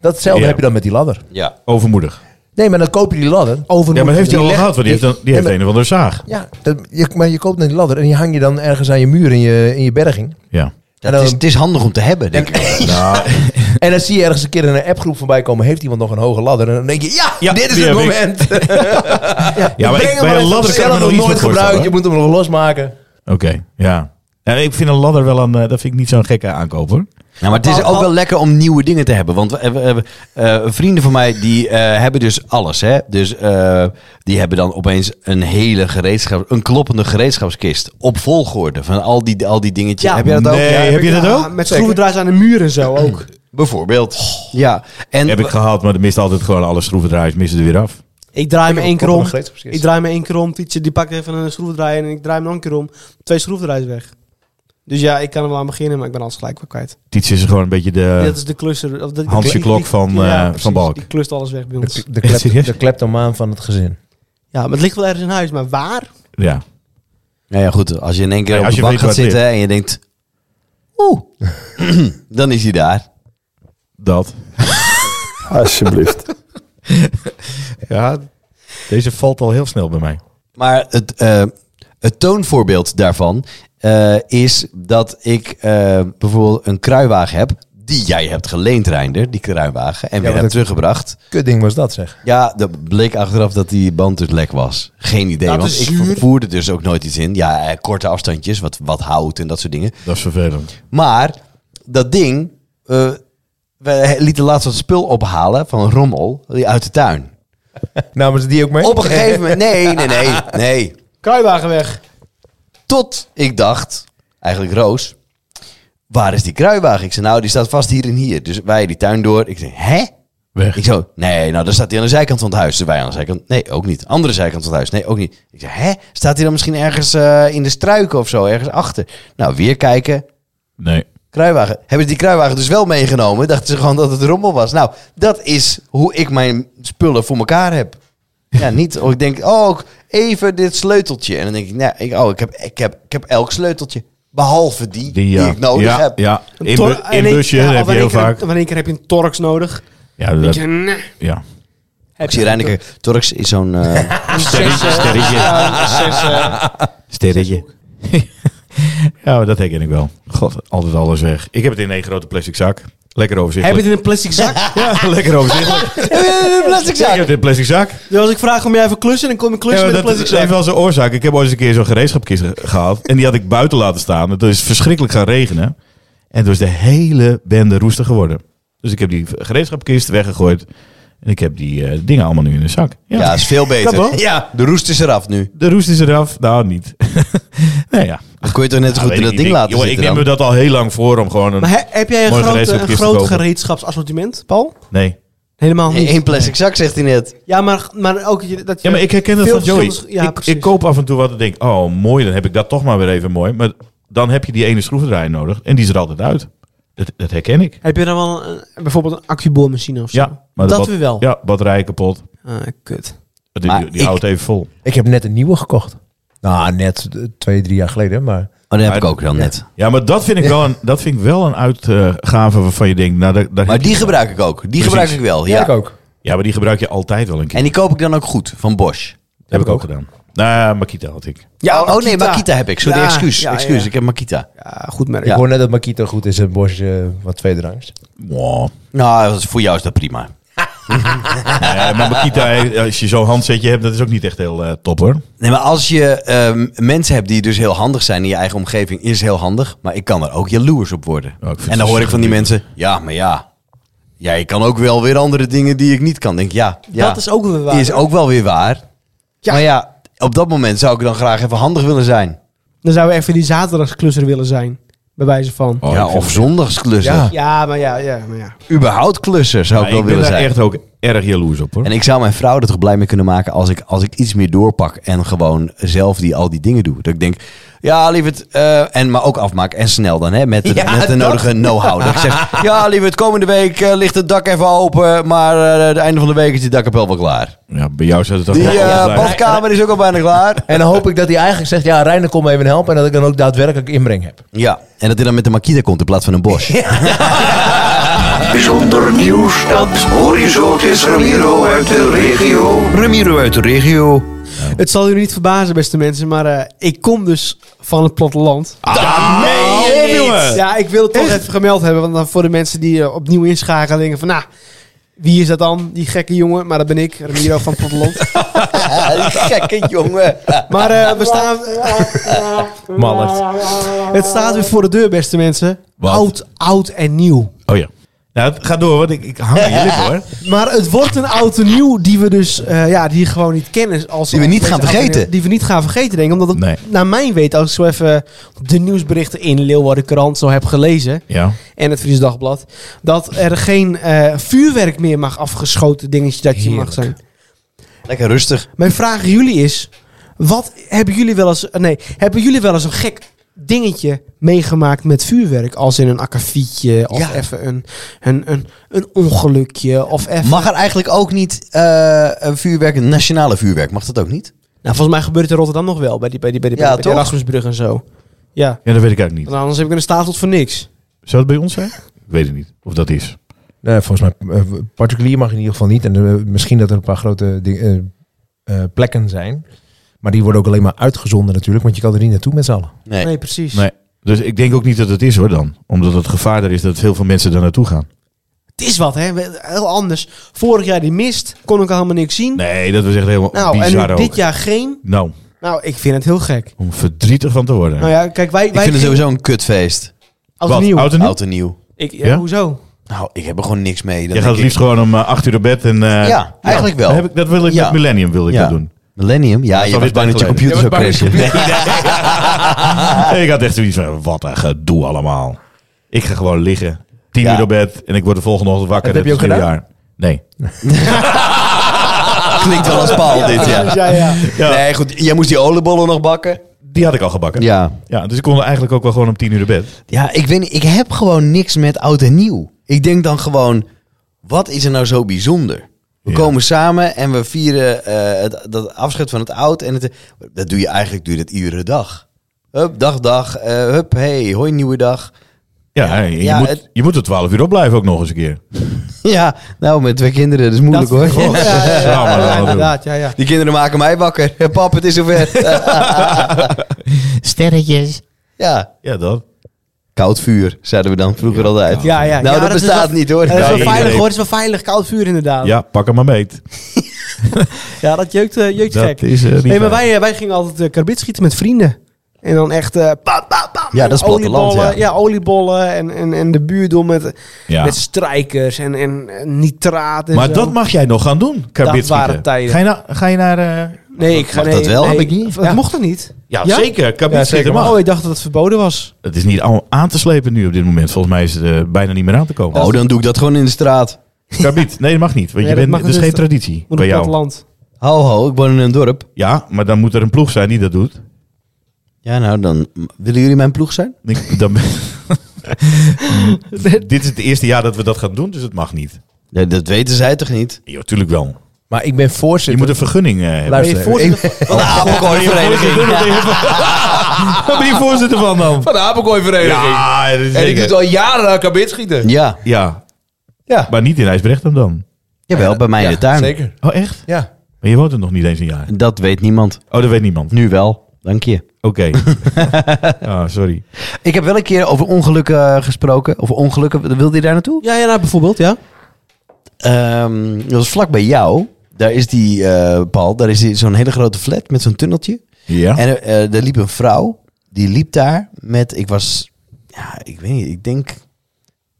D: Datzelfde
B: Ja.
D: heb je dan met die ladder.
A: Ja.
B: Overmoedig.
D: Nee, maar dan koop je die ladder.
C: over
B: Ja, maar dat heeft
D: Die
B: hij al
D: leg-
B: gehad. Want die heeft,
D: die-
B: dan, die heeft
D: Ja,
B: een of andere zaag.
D: Ja, dat, je, maar je koopt dan die ladder en die hang je dan ergens aan je muur in je, in je berging.
B: Ja.
A: Ja, het, is, het is handig om te hebben, denk ik.
D: <laughs>
B: Nou,
D: En dan zie je ergens een keer in een appgroep voorbij komen. Heeft iemand nog een hoge ladder? En dan denk je, ja,
B: Ja,
D: dit is
B: die
D: het
B: heb ik.
D: moment.
B: <laughs> ja, maar
D: Breng
B: ik, bij
D: hem
B: een
D: maar even
B: ladder
D: op
B: kan ik me
D: zelf,
B: nog
D: nog
B: iets
D: nooit
B: meer
D: gebruikt.
B: voorstellen.
D: Je moet hem nog losmaken.
B: Oké, ja. Ja, ik vind een ladder wel een... eh, Dat vind ik niet zo'n gekke aankoop, hoor.
A: Nou, maar het is
C: Al- al-
A: ook wel lekker om nieuwe dingen te hebben. Want we, we- we- eh, vrienden van mij die eh, hebben dus alles. Hè? Dus eh, die hebben dan opeens een hele gereedschap, een kloppende gereedschapskist. Op volgorde van al die, al die dingetjes.
C: Ja.
A: heb jij dat ook?
B: Nee, heb je dat
C: Ja,
B: ook?
C: Met schroevendraaiers aan de muur en zo ook.
A: Bijvoorbeeld. Oh. Ja. En
B: Heb ik gehad, maar er mist altijd gewoon alle schroevendraaiers. Missen er weer af.
C: Ik draai me
D: heb
C: één
D: ook
C: keer
D: wel
C: om.
D: een greep,
C: Ik draai me één keer om. Tietje die pakt even een schroevendraaier en ik draai me nog een keer om. Twee schroevendraaiers weg. Dus ja, ik kan er wel aan beginnen, maar ik ben alles gelijk weer kwijt.
B: Tiets is gewoon een beetje
C: dat
B: de...
C: is de klusser. Of de,
B: Eh, Hansje
C: die-
B: Klok
C: die-
B: van,
C: ja,
B: eh,
C: precies.
B: van Balk.
C: Die klust alles weg bij ons.
D: De, de,
B: Serieus?
D: klep, de kleptomaan van het gezin.
C: Ja, maar het ligt wel ergens in huis, maar waar?
B: Ja.
A: Nou ja, goed. Als je in één keer
B: Ja,
A: op
B: als
A: de
B: je
A: bank
B: weet
A: gaat
B: wat het
A: zitten en je denkt... Oeh, <clears throat> dan is hij daar.
B: Dat.
E: Alsjeblieft.
B: Ja, deze valt al heel snel bij mij.
A: Maar het, eh, het toonvoorbeeld daarvan eh, is dat ik eh, bijvoorbeeld een kruiwagen heb... die jij hebt geleend, Reinder, die kruiwagen, en weer
D: wat
A: hebt
D: een-
A: teruggebracht.
D: Kutding was
B: <laughs>
D: dat, zeg.
A: Ja, dat bleek achteraf dat die band dus lek was. Geen idee,
C: Dat
A: want
C: is
A: ik
C: zuur.
A: vervoerde dus ook nooit iets in. Ja, eh, korte afstandjes, wat, wat hout en dat soort dingen.
B: Dat is vervelend.
A: Maar dat ding, eh, we lieten laatst wat spul ophalen van rommel die uit de tuin.
D: Namen ze die ook mee?
A: Op een gegeven moment, nee, nee, nee, nee.
C: Kruiwagen weg.
A: Tot ik dacht, eigenlijk Roos, waar is die kruiwagen? Ik zei, nou, die staat vast hier en hier. Dus wij die tuin door. Ik zei, hè?
B: Weg.
A: Ik zo, nee, nou, dan staat hij aan de zijkant van het huis. Dus wij aan de zijkant, nee, ook niet. Andere zijkant van het huis, nee, ook niet. Ik zei, hè? Staat hij dan misschien ergens eh, in de struiken of zo, ergens achter? Nou, weer kijken.
B: Nee.
A: Kruiwagen. Hebben ze die kruiwagen dus wel meegenomen? Dachten ze gewoon dat het rommel was. Nou, dat is hoe ik mijn spullen voor elkaar heb. Ja, niet. Oh, ik denk, oh, ik- even dit sleuteltje. En dan denk ik, nou, ik, oh, ik heb, ik heb, ik heb elk sleuteltje. Behalve die die,
B: Die, ja.
A: ik nodig
B: ja,
A: heb.
B: Ja,
C: Een
B: in,
C: tor-
B: bu- in
C: en een-
B: busje
C: ja, of
B: heb je
C: in één
B: heel
C: keer-
B: vaak.
C: of In één keer heb je een Torx nodig.
B: Ja,
C: Denk
B: dat,
C: je, nee.
B: ja.
A: Ik zie Reineke, Torx is zo'n... eh,
C: Een zes, eh,
B: sterretje.
C: ja, een zes, eh,
B: Sterretje. ja, maar dat herken ik wel. God, altijd alles weg. Ik heb het in één grote plastic zak. Lekker
C: Heb je
B: overzichtelijk.
C: het in een plastic zak?
B: <laughs> Ja, lekker overzichtelijk.
A: plastic
B: Ik
A: zak.
B: heb het in een plastic zak.
C: Dus als ik vraag om jij even klussen, dan kom je klussen
B: Ja, maar
C: met een
B: dat
C: plastic
B: is
C: zak.
B: even wel zijn oorzaak. Ik heb ooit eens een keer zo'n gereedschapkist ge- gehad. En die had ik buiten laten staan. Het is verschrikkelijk gaan regenen. En toen is de hele bende roestig geworden. Dus ik heb die gereedschapkist weggegooid. En ik heb die eh, dingen allemaal nu in de zak. Ja.
A: Ja, is veel
B: Knap,
A: beter.
B: hoor.
A: Ja, de roest is eraf nu.
B: De roest is eraf. Nou, niet. <laughs> nou ja.
A: Dan kun je toch net zo
B: Nou,
A: goed in
B: weet ik
A: dat
B: niet.
A: ding
B: Ik-
A: laten
B: jongen,
A: zitten
B: Ik neem me
A: dan.
B: dat al heel lang voor om gewoon een...
C: Maar he- heb jij een
B: Mooi
C: groot, een
B: gereedschapkist te
C: groot
B: kopen.
C: gereedschapsassortiment, Paul?
B: Nee.
C: Helemaal niet.
A: Eén plastic zak, zegt hij net.
C: Ja, maar, maar ook... je- Dat je
B: Ja, maar ik herken dat
C: veel
B: van Joey.
C: verschillende- Ja,
B: ik,
C: precies.
B: ik koop af en toe wat en denk, oh mooi, dan heb ik dat toch maar weer even mooi. Maar dan heb je die ene schroevendraaier nodig en die is er altijd uit. Dat, dat herken ik.
C: Heb je dan wel een, bijvoorbeeld een accuboormachine of zo?
B: Ja, maar de
C: dat
B: bat-
C: weer wel.
B: Ja, batterij kapot.
C: Ah, kut.
B: Die,
A: Maar
B: die, die
A: ik-
B: houdt even vol.
D: Ik heb net een nieuwe gekocht. Nou, net eh, twee, drie jaar geleden, maar...
A: Oh, dat heb
B: Maar-
A: ik ook dan net.
B: Ja, maar dat vind ik wel een, dat vind ik wel een uitgave waarvan je denkt, nou, daar, daar
A: Maar
B: heb
A: die
B: je-
A: gebruik ik ook. Die gebruik ik wel, ja.
D: ik ook.
B: Ja, maar die gebruik je altijd wel een keer.
A: En die koop ik dan ook goed, van Bosch.
B: heb, ik ook gedaan. Nou, Makita had ik.
A: Ja,
C: Ja,
A: oh nee,
C: Makita.
A: Makita heb ik. Sorry,
C: Ja,
A: excuus.
C: ja,
A: excuus,
C: ja.
A: ik heb Makita.
C: Ja, goed merk.
A: Ja.
D: Ik hoor net dat Makito goed is en Bosch eh, wat tweede rangs.
B: Wow.
A: Nou, dat is- voor jou is dat prima.
B: Nee, Eh, maar Makita, als je zo'n handsetje hebt, dat is ook niet echt heel eh, top hoor.
A: Nee, maar als je ehm, mensen hebt die dus heel handig zijn in je eigen omgeving, is heel handig. Maar ik kan er ook jaloers op worden.
B: vind het
A: en dan hoor ik van die
B: verschrikkelijk.
A: mensen, ja, maar ja. Ja, je kan ook wel weer andere dingen die ik niet kan. Denk, ik, ja, ja,
C: Dat is ook weer waar.
A: die is ook wel weer waar.
C: Ja.
A: Maar ja, op dat moment zou ik dan graag even handig willen zijn.
C: Dan zou we even die zaterdagsklusser willen zijn. Bij wijze van.
B: Oh,
A: ja,
B: ik vind-
A: of zondagsklussen.
D: Ja.
C: Ja, maar ja, ja, maar ja.
A: Überhaupt klussen zou ik
B: Ja,
A: wel
B: ik ben
A: willen
B: daar
A: zijn.
B: echt ook erg jaloers op hoor.
A: En ik zou mijn vrouw er toch blij mee kunnen maken als ik, als ik iets meer doorpak en gewoon zelf die, al die dingen doe. Dat ik denk, ja lieverd, eh, en, maar ook afmaak en snel dan, hè, met de,
D: Ja,
A: met de
D: dat-
A: nodige know-how. Dat ik <laughs> zeg, ja lieverd, komende week eh, ligt het dak even open, maar eh, het einde van de week is die dakkapel wel klaar.
B: Ja, bij jou zat het toch
A: Die
B: wel
A: eh,
B: altijd-
A: badkamer is ook al bijna klaar.
D: En dan hoop ik dat hij eigenlijk zegt, ja, Reiner, kom even helpen. En dat ik dan ook daadwerkelijk inbreng heb.
A: Ja, en dat hij dan met de Makita komt in plaats van een Bosch.
F: Bijzonder nieuws dat Horizon is Ramiro uit de regio.
G: Ramiro uit de regio.
C: Het zal jullie niet verbazen, beste mensen, maar eh, ik kom dus van het platteland.
B: Ah, nee, jongen.
C: Ja, ik wil het toch even gemeld hebben, want dan voor de mensen die eh, opnieuw inschakelen denken van, nou, wie is dat dan, die gekke jongen? Maar dat ben ik, Ramiro van het platteland.
A: Gekke jongen.
C: Maar eh, we staan... Het staat weer voor de deur, beste mensen.
B: Wat?
C: Oud, oud en nieuw.
B: Oh ja. Nou, het- ga door, want ik, ik hang aan je lippen hoor.
C: Maar het wordt een oud en nieuw die we dus eh, ja, die gewoon niet kennen. Als
A: Die we niet
C: als
A: gaan
C: deze oud en nieuw-
A: vergeten.
C: Die we niet gaan vergeten, denk ik. Omdat het,
B: Nee.
C: naar mijn weet, als ik zo even de nieuwsberichten in Leeuwarden Krant zo heb gelezen.
B: <laughs> Ja.
C: En het Fries Dagblad. Dat er geen eh, vuurwerk meer mag afgeschoten dingetje dat je mag zijn.
A: Lekker rustig.
C: Mijn vraag aan jullie is. Wat hebben jullie wel eens... Nee, hebben jullie wel eens een gek dingetje meegemaakt met vuurwerk? Als in een akkefietje of
A: Ja.
C: even een, een, een, een ongelukje of even...
A: Mag er eigenlijk ook niet eh, een vuurwerk, een nationale vuurwerk, mag dat ook niet?
C: Nou, volgens mij gebeurt het in Rotterdam nog wel, bij die, bij die, bij die,
D: Ja,
C: bij die
D: toch?
C: Erasmusbrug en zo. Ja,
B: Ja, dat weet ik eigenlijk niet.
C: want anders heb ik een staatelt voor niks.
B: Zou het bij ons zijn? Ik weet het niet of dat is.
D: Nee, volgens mij, eh, particulier mag in ieder geval niet. En eh, misschien dat er een paar grote ding- eh, eh, plekken zijn. Maar die worden ook alleen maar uitgezonden natuurlijk, want je kan er niet naartoe met
B: <laughs>
D: z'n allen.
A: Nee.
C: Nee, precies.
B: Nee. Dus ik denk ook niet dat het is hoor dan. Omdat het gevaar er is dat veel van mensen daar naartoe gaan.
C: Het is wat, hè? Heel anders. Vorig jaar die mist, kon ik helemaal niks zien.
B: Nee, dat was echt helemaal
C: nou, en
B: bizar
C: nu
B: ook.
C: dit jaar geen.
B: Nou,
C: Nou, ik vind het heel gek.
B: om verdrietig van te worden.
C: Nou ja, kijk, wij...
A: ik
C: wij
A: vind het sowieso een kutfeest.
C: Oud en
B: Wat?
C: nieuw.
B: Oud en nieuw?
A: Oud en nieuw.
C: Ik, ja,
B: Ja?
C: Hoezo?
A: Nou, ik heb er gewoon niks mee. Dan
B: Jij gaat
A: denk
B: het liefst gewoon om eh, acht uur naar bed en... eh,
A: Ja, eigenlijk wel.
B: dat Heb ik, dat wil ik
A: Ja.
B: met Millennium wil ik
A: Ja.
B: dat doen.
A: ik, Millennium? Ja,
B: is
A: je
B: alweer
A: was bang dat je
B: tijd
A: computer zou
D: geleden.
A: crashen. <laughs> Nee.
B: <laughs> ik had echt zoiets van, wat een gedoe allemaal. Ik ga gewoon liggen. Tien
A: Ja.
B: uur naar bed en ik word de volgende ochtend wakker.
D: Dat heb
B: Het
D: je ook
B: is nieuwjaar. Nee.
A: Klinkt wel als paal dit, ja.
C: Ja, ja.
B: <laughs> Ja.
A: Nee, goed. Jij moest die oliebollen nog bakken.
B: Die had ik al gebakken. Ja.
A: Ja.
B: dus ik kon eigenlijk ook wel gewoon om tien uur naar bed.
A: Ja, ik weet niet. Ik heb gewoon niks met oud en nieuw. Ik denk dan gewoon, wat is er nou zo bijzonder? We
B: Ja.
A: komen samen en we vieren eh, het, dat afscheid van het oud. En het, dat doe je eigenlijk doe je dat iedere dag. Hup, dag, dag. eh, hup, hey, hoi, nieuwe dag.
B: Ja, en je,
A: Ja,
B: moet,
A: het-
B: je moet er twaalf uur op blijven ook nog eens een keer.
A: <laughs> Ja, nou, met twee kinderen, dat is moeilijk
C: Dat-
A: hoor.
C: Ja, ja, ja,
B: Samen dan
C: ja,
B: doen.
C: inderdaad. Ja, ja.
A: Die kinderen maken mij wakker. <laughs> Pap, het is
C: <laughs>
A: zover.
G: Sterretjes.
A: ja.
B: Ja, dat.
A: Koud vuur, zeiden we dan vroeger altijd.
C: Ja, ja.
A: Nou,
C: Ja,
A: dat,
C: dat is
A: bestaat
C: wel-
A: niet hoor.
C: Ja, dat is wel
B: Nee,
C: veilig
B: nee.
C: hoor, het is wel veilig. Koud vuur inderdaad. Ja,
B: Ja, pak hem maar mee.
C: dat jeukt, eh, jeukt
B: Dat
C: gek.
B: is eh, niet
C: Nee, maar
B: waar.
C: wij, eh, wij gingen altijd eh, karbiet schieten met vrienden. En dan echt... eh pa, pa, pa,
A: Ja,
C: en
A: dat is platteland,
C: oliebollen,
A: ja.
C: oliebollen en, en, en de buurdom met,
B: Ja.
C: met strijkers en, en eh, nitraat en
B: Maar
C: zo.
B: dat mag jij nog gaan doen, karbit
C: waren
B: schieten.
C: tijden.
B: Ga je, na- ga je naar... eh,
C: Nee, ik ga
A: Mag
C: nee,
A: dat wel?
C: nee,
A: Heb ik niet.
C: Dat
A: Ja.
C: mocht het niet.
B: Ja,
C: Ja?
B: zeker. Karbit
D: Ja,
B: schieten
D: zeker
B: mag.
C: Oh, ik dacht dat het verboden was.
B: Het is niet al- aan te slepen nu op dit moment. Volgens mij is het eh, bijna niet meer aan te komen.
A: Oh, dan doe ik dat gewoon in de straat.
B: Karbiet. Nee, dat mag niet. Want
C: Nee,
B: je
C: dat
B: bent,
C: mag
B: dat is geen
C: dus niet.
B: traditie
C: Moet
B: bij
C: op dat
B: jou.
C: land.
A: Ho, ho, ik woon in een dorp.
B: Ja, maar dan moet er een ploeg zijn die dat doet.
A: Ja, nou dan. Willen jullie mijn ploeg zijn?
B: Ik- dan-
C: <laughs>
B: Dit is het eerste jaar dat we dat gaan doen, dus het mag niet.
A: Ja, dat weten zij toch <laughs> niet?
B: Ja, tuurlijk wel.
D: Maar ik ben
B: Je
D: voorzitter.
B: moet een vergunning eh, hebben. Oh,
D: Luister,
C: Ben je
D: ik-
A: <laughs> Van de Apenkooivereniging.
B: Waar ben je voorzitter van dan?
D: Van de Apenkooivereniging.
B: Ja, dat is
D: en ik doe
B: zeker.
D: het al jaren aan kabit schieten.
A: Ja,
B: ja,
D: Ja.
B: maar niet in IJsbrechtum dan.
A: jawel, bij mij in de
D: Ja,
A: tuin.
D: Zeker.
B: Oh, echt?
D: Ja.
B: Maar je woont er nog niet eens een jaar.
A: Dat weet niemand.
B: Oh, dat weet niemand.
A: Nu wel. Dank je.
C: <laughs>
B: Oké. Ah, sorry.
A: Ik heb wel een keer over ongelukken eh, gesproken. Of ongelukken. Wilde je daar naartoe?
C: Ja, ja, nou, bijvoorbeeld, ja.
A: Ehm, dat was vlak bij jou. Daar is die, eh, Paul, daar is die- zo'n hele grote flat met zo'n tunneltje.
B: Ja?
A: En er, eh, er liep een vrouw, die liep daar met, ik was, ja, ik weet niet, ik denk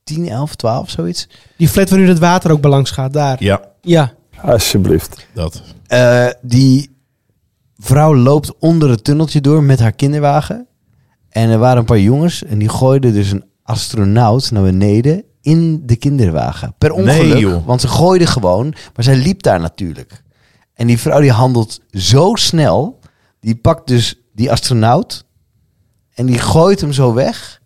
A: 10, 11, 12, zoiets.
C: Die flat waar nu het water ook bij langs gaat, daar.
B: Ja,
C: Ja.
E: Alsjeblieft.
B: dat.
A: Eh, die vrouw loopt onder het tunneltje door met haar kinderwagen. En er waren een paar jongens en die gooiden dus een astronaut naar beneden in de kinderwagen. Per ongeluk,
B: Nee, joh.
A: want ze gooiden gewoon, maar zij liep daar natuurlijk. En die vrouw die handelt zo snel, die pakt dus die astronaut en die gooit hem zo weg.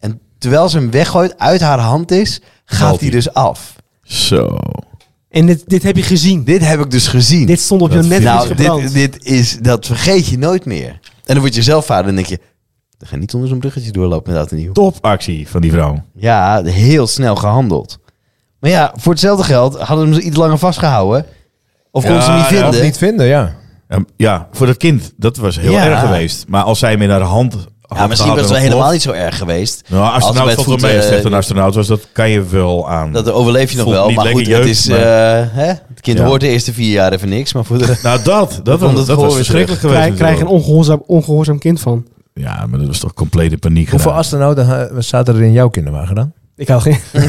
A: En terwijl ze hem weggooit, uit haar hand is, gaat
B: Valt
A: hij
B: hij.
A: dus af.
B: Zo.
C: En dit, dit heb je gezien. Dit,
A: Dit heb ik dus gezien.
C: stond op
B: Dat
C: je net
B: vind-
A: Nou,
C: nou,
A: dit, dit is, dat vergeet je nooit meer. En dan word je zelf vader en denk je... Dan ga je niet onder zo'n bruggetje doorlopen met dat nieuw.
B: Topactie van die vrouw.
A: Ja, heel snel gehandeld. Maar ja, voor hetzelfde geld hadden we hem ze iets langer vastgehouden. Of konden ze hem niet
B: Ja,
A: vinden.
D: Of niet vinden, ja.
B: Ja, Ehm, Ja, voor dat kind. Dat was heel
A: Ja.
B: erg geweest. Maar als zij hem in haar hand had
A: ja, misschien was het wel helemaal niet zo erg geweest.
B: Nou,
A: Als het bij
B: astronaut
A: het
B: valt wel
A: voeten-
B: mee. Als het echt een astronaut was, dat kan je wel aan.
A: Dat overleef je nog
B: Voelt
A: wel.
B: niet
A: Maar goed,
B: lekker
A: het,
B: jeuk,
A: is,
B: maar-
A: eh, hè? het kind
B: Ja.
A: hoort de eerste vier jaar even niks. Maar voor de
B: <laughs> nou, dat. Dat,
A: komt
B: was,
A: het
B: dat
A: gewoon
B: was
A: weer
B: verschrikkelijk geweest.
C: krijg, krijg een
B: natuurlijk.
C: ongehoorzaam, ongehoorzaam kind van.
B: Ja, maar dat was toch complete paniek.
D: Hoeveel
B: gedaan.
D: astronauten eh, zaten er in jouw kinderwagen dan?
C: Ik hou <laughs> geen...
A: nee,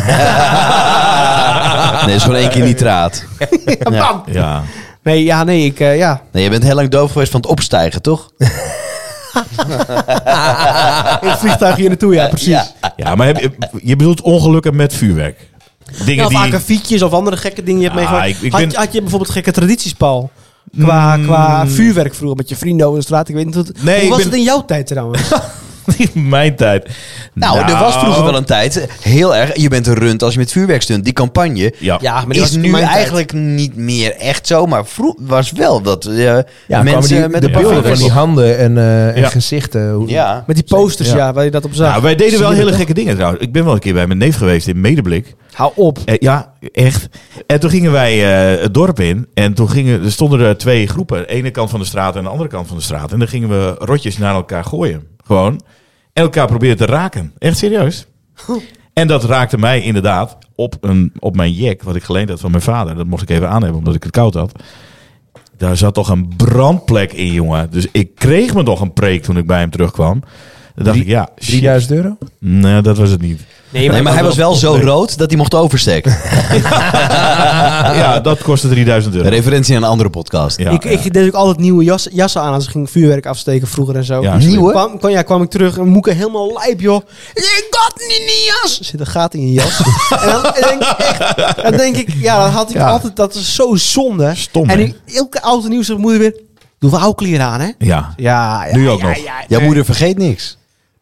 A: dat is gewoon één keer nitraat. Ja.
C: Bam!
B: Ja.
C: Nee, ja, nee, ik... eh, ja.
A: Nee, je bent heel lang doof geweest van het opstijgen, toch?
C: In het vliegtuig hier naartoe, ja, precies.
A: Eh, Ja.
B: ja, maar heb, je- je bedoelt ongelukken met vuurwerk.
C: Ja,
B: Dingen
C: of
B: <laughs> die...
C: akkefietjes of andere gekke dingen die je hebt
B: Ah,
C: meegemaakt.
B: ik- ik
C: had,
B: ben-
C: had je bijvoorbeeld gekke tradities, Paul? Qua, qua vuurwerk vroeger met je vrienden over de straat. Ik weet niet, hoe het-
B: Nee,
C: hoe
B: ik
C: was
B: ben-
C: het in jouw tijd trouwens?
B: in mijn tijd.
A: Nou, er was vroeger wel een tijd, heel erg, je bent een runt als je met vuurwerk stunt. Die campagne
B: Ja.
C: Ja, maar die
A: is
C: was in
A: nu
C: mijn tijd.
A: eigenlijk niet meer echt zo, maar vroeg was wel dat eh,
D: Ja,
A: mensen
D: mensen
A: met
D: de
A: een
D: beelden
A: parfum-
D: van die handen en, eh, en
B: Ja.
D: gezichten. hoe-
A: Ja.
C: Met die posters, ja. waar je dat op zag.
B: Nou, wij deden wel
C: Zie je
B: hele
C: dat?
B: gekke dingen trouwens. Ik ben wel een keer bij mijn neef geweest in Medeblik.
C: Hou op.
B: Eh, ja, echt. En toen gingen wij eh, het dorp in. En toen gingen, er stonden er twee groepen. De ene kant van de straat en de andere kant van de straat. En dan gingen we rotjes naar elkaar gooien. Gewoon. En elkaar proberen te raken. Echt serieus. En dat raakte mij inderdaad op, een, op mijn jek. Wat ik geleend had van mijn vader. Dat mocht ik even aan hebben omdat ik het koud had. Daar zat toch een brandplek in, jongen. Dus ik kreeg me nog een preek toen ik bij hem terugkwam. Dan dacht ik, ja, shit.
D: 3000 euro?
B: Nee, dat was het
C: <laughs>
B: niet.
A: Nee, maar hij was wel zo rood dat hij mocht <laughs> oversteken.
B: ja, dat kostte 3000 euro.
A: Referentie aan een andere podcast.
B: Ja,
C: ik,
B: ja.
C: ik deed ook altijd nieuwe jas, jassen aan als ik ging vuurwerk afsteken vroeger en zo.
B: Ja,
A: Nieuwe?
C: Kwam, kwam, ja, kwam ik terug en Moeke helemaal lijp, joh. Ik got niet in je jas. Er zit een gat in je jas. en dan, en denk, ik echt, dan denk ik, ja, dan had ik
B: Ja.
C: altijd, dat is zo zonde.
B: Stom,
C: En
B: hè?
C: nu, elke oude nieuws zegt moeder weer, doen we oude aan, hè?
B: Ja,
C: Ja, ja.
B: nu ook nog.
A: Jouw moeder vergeet niks.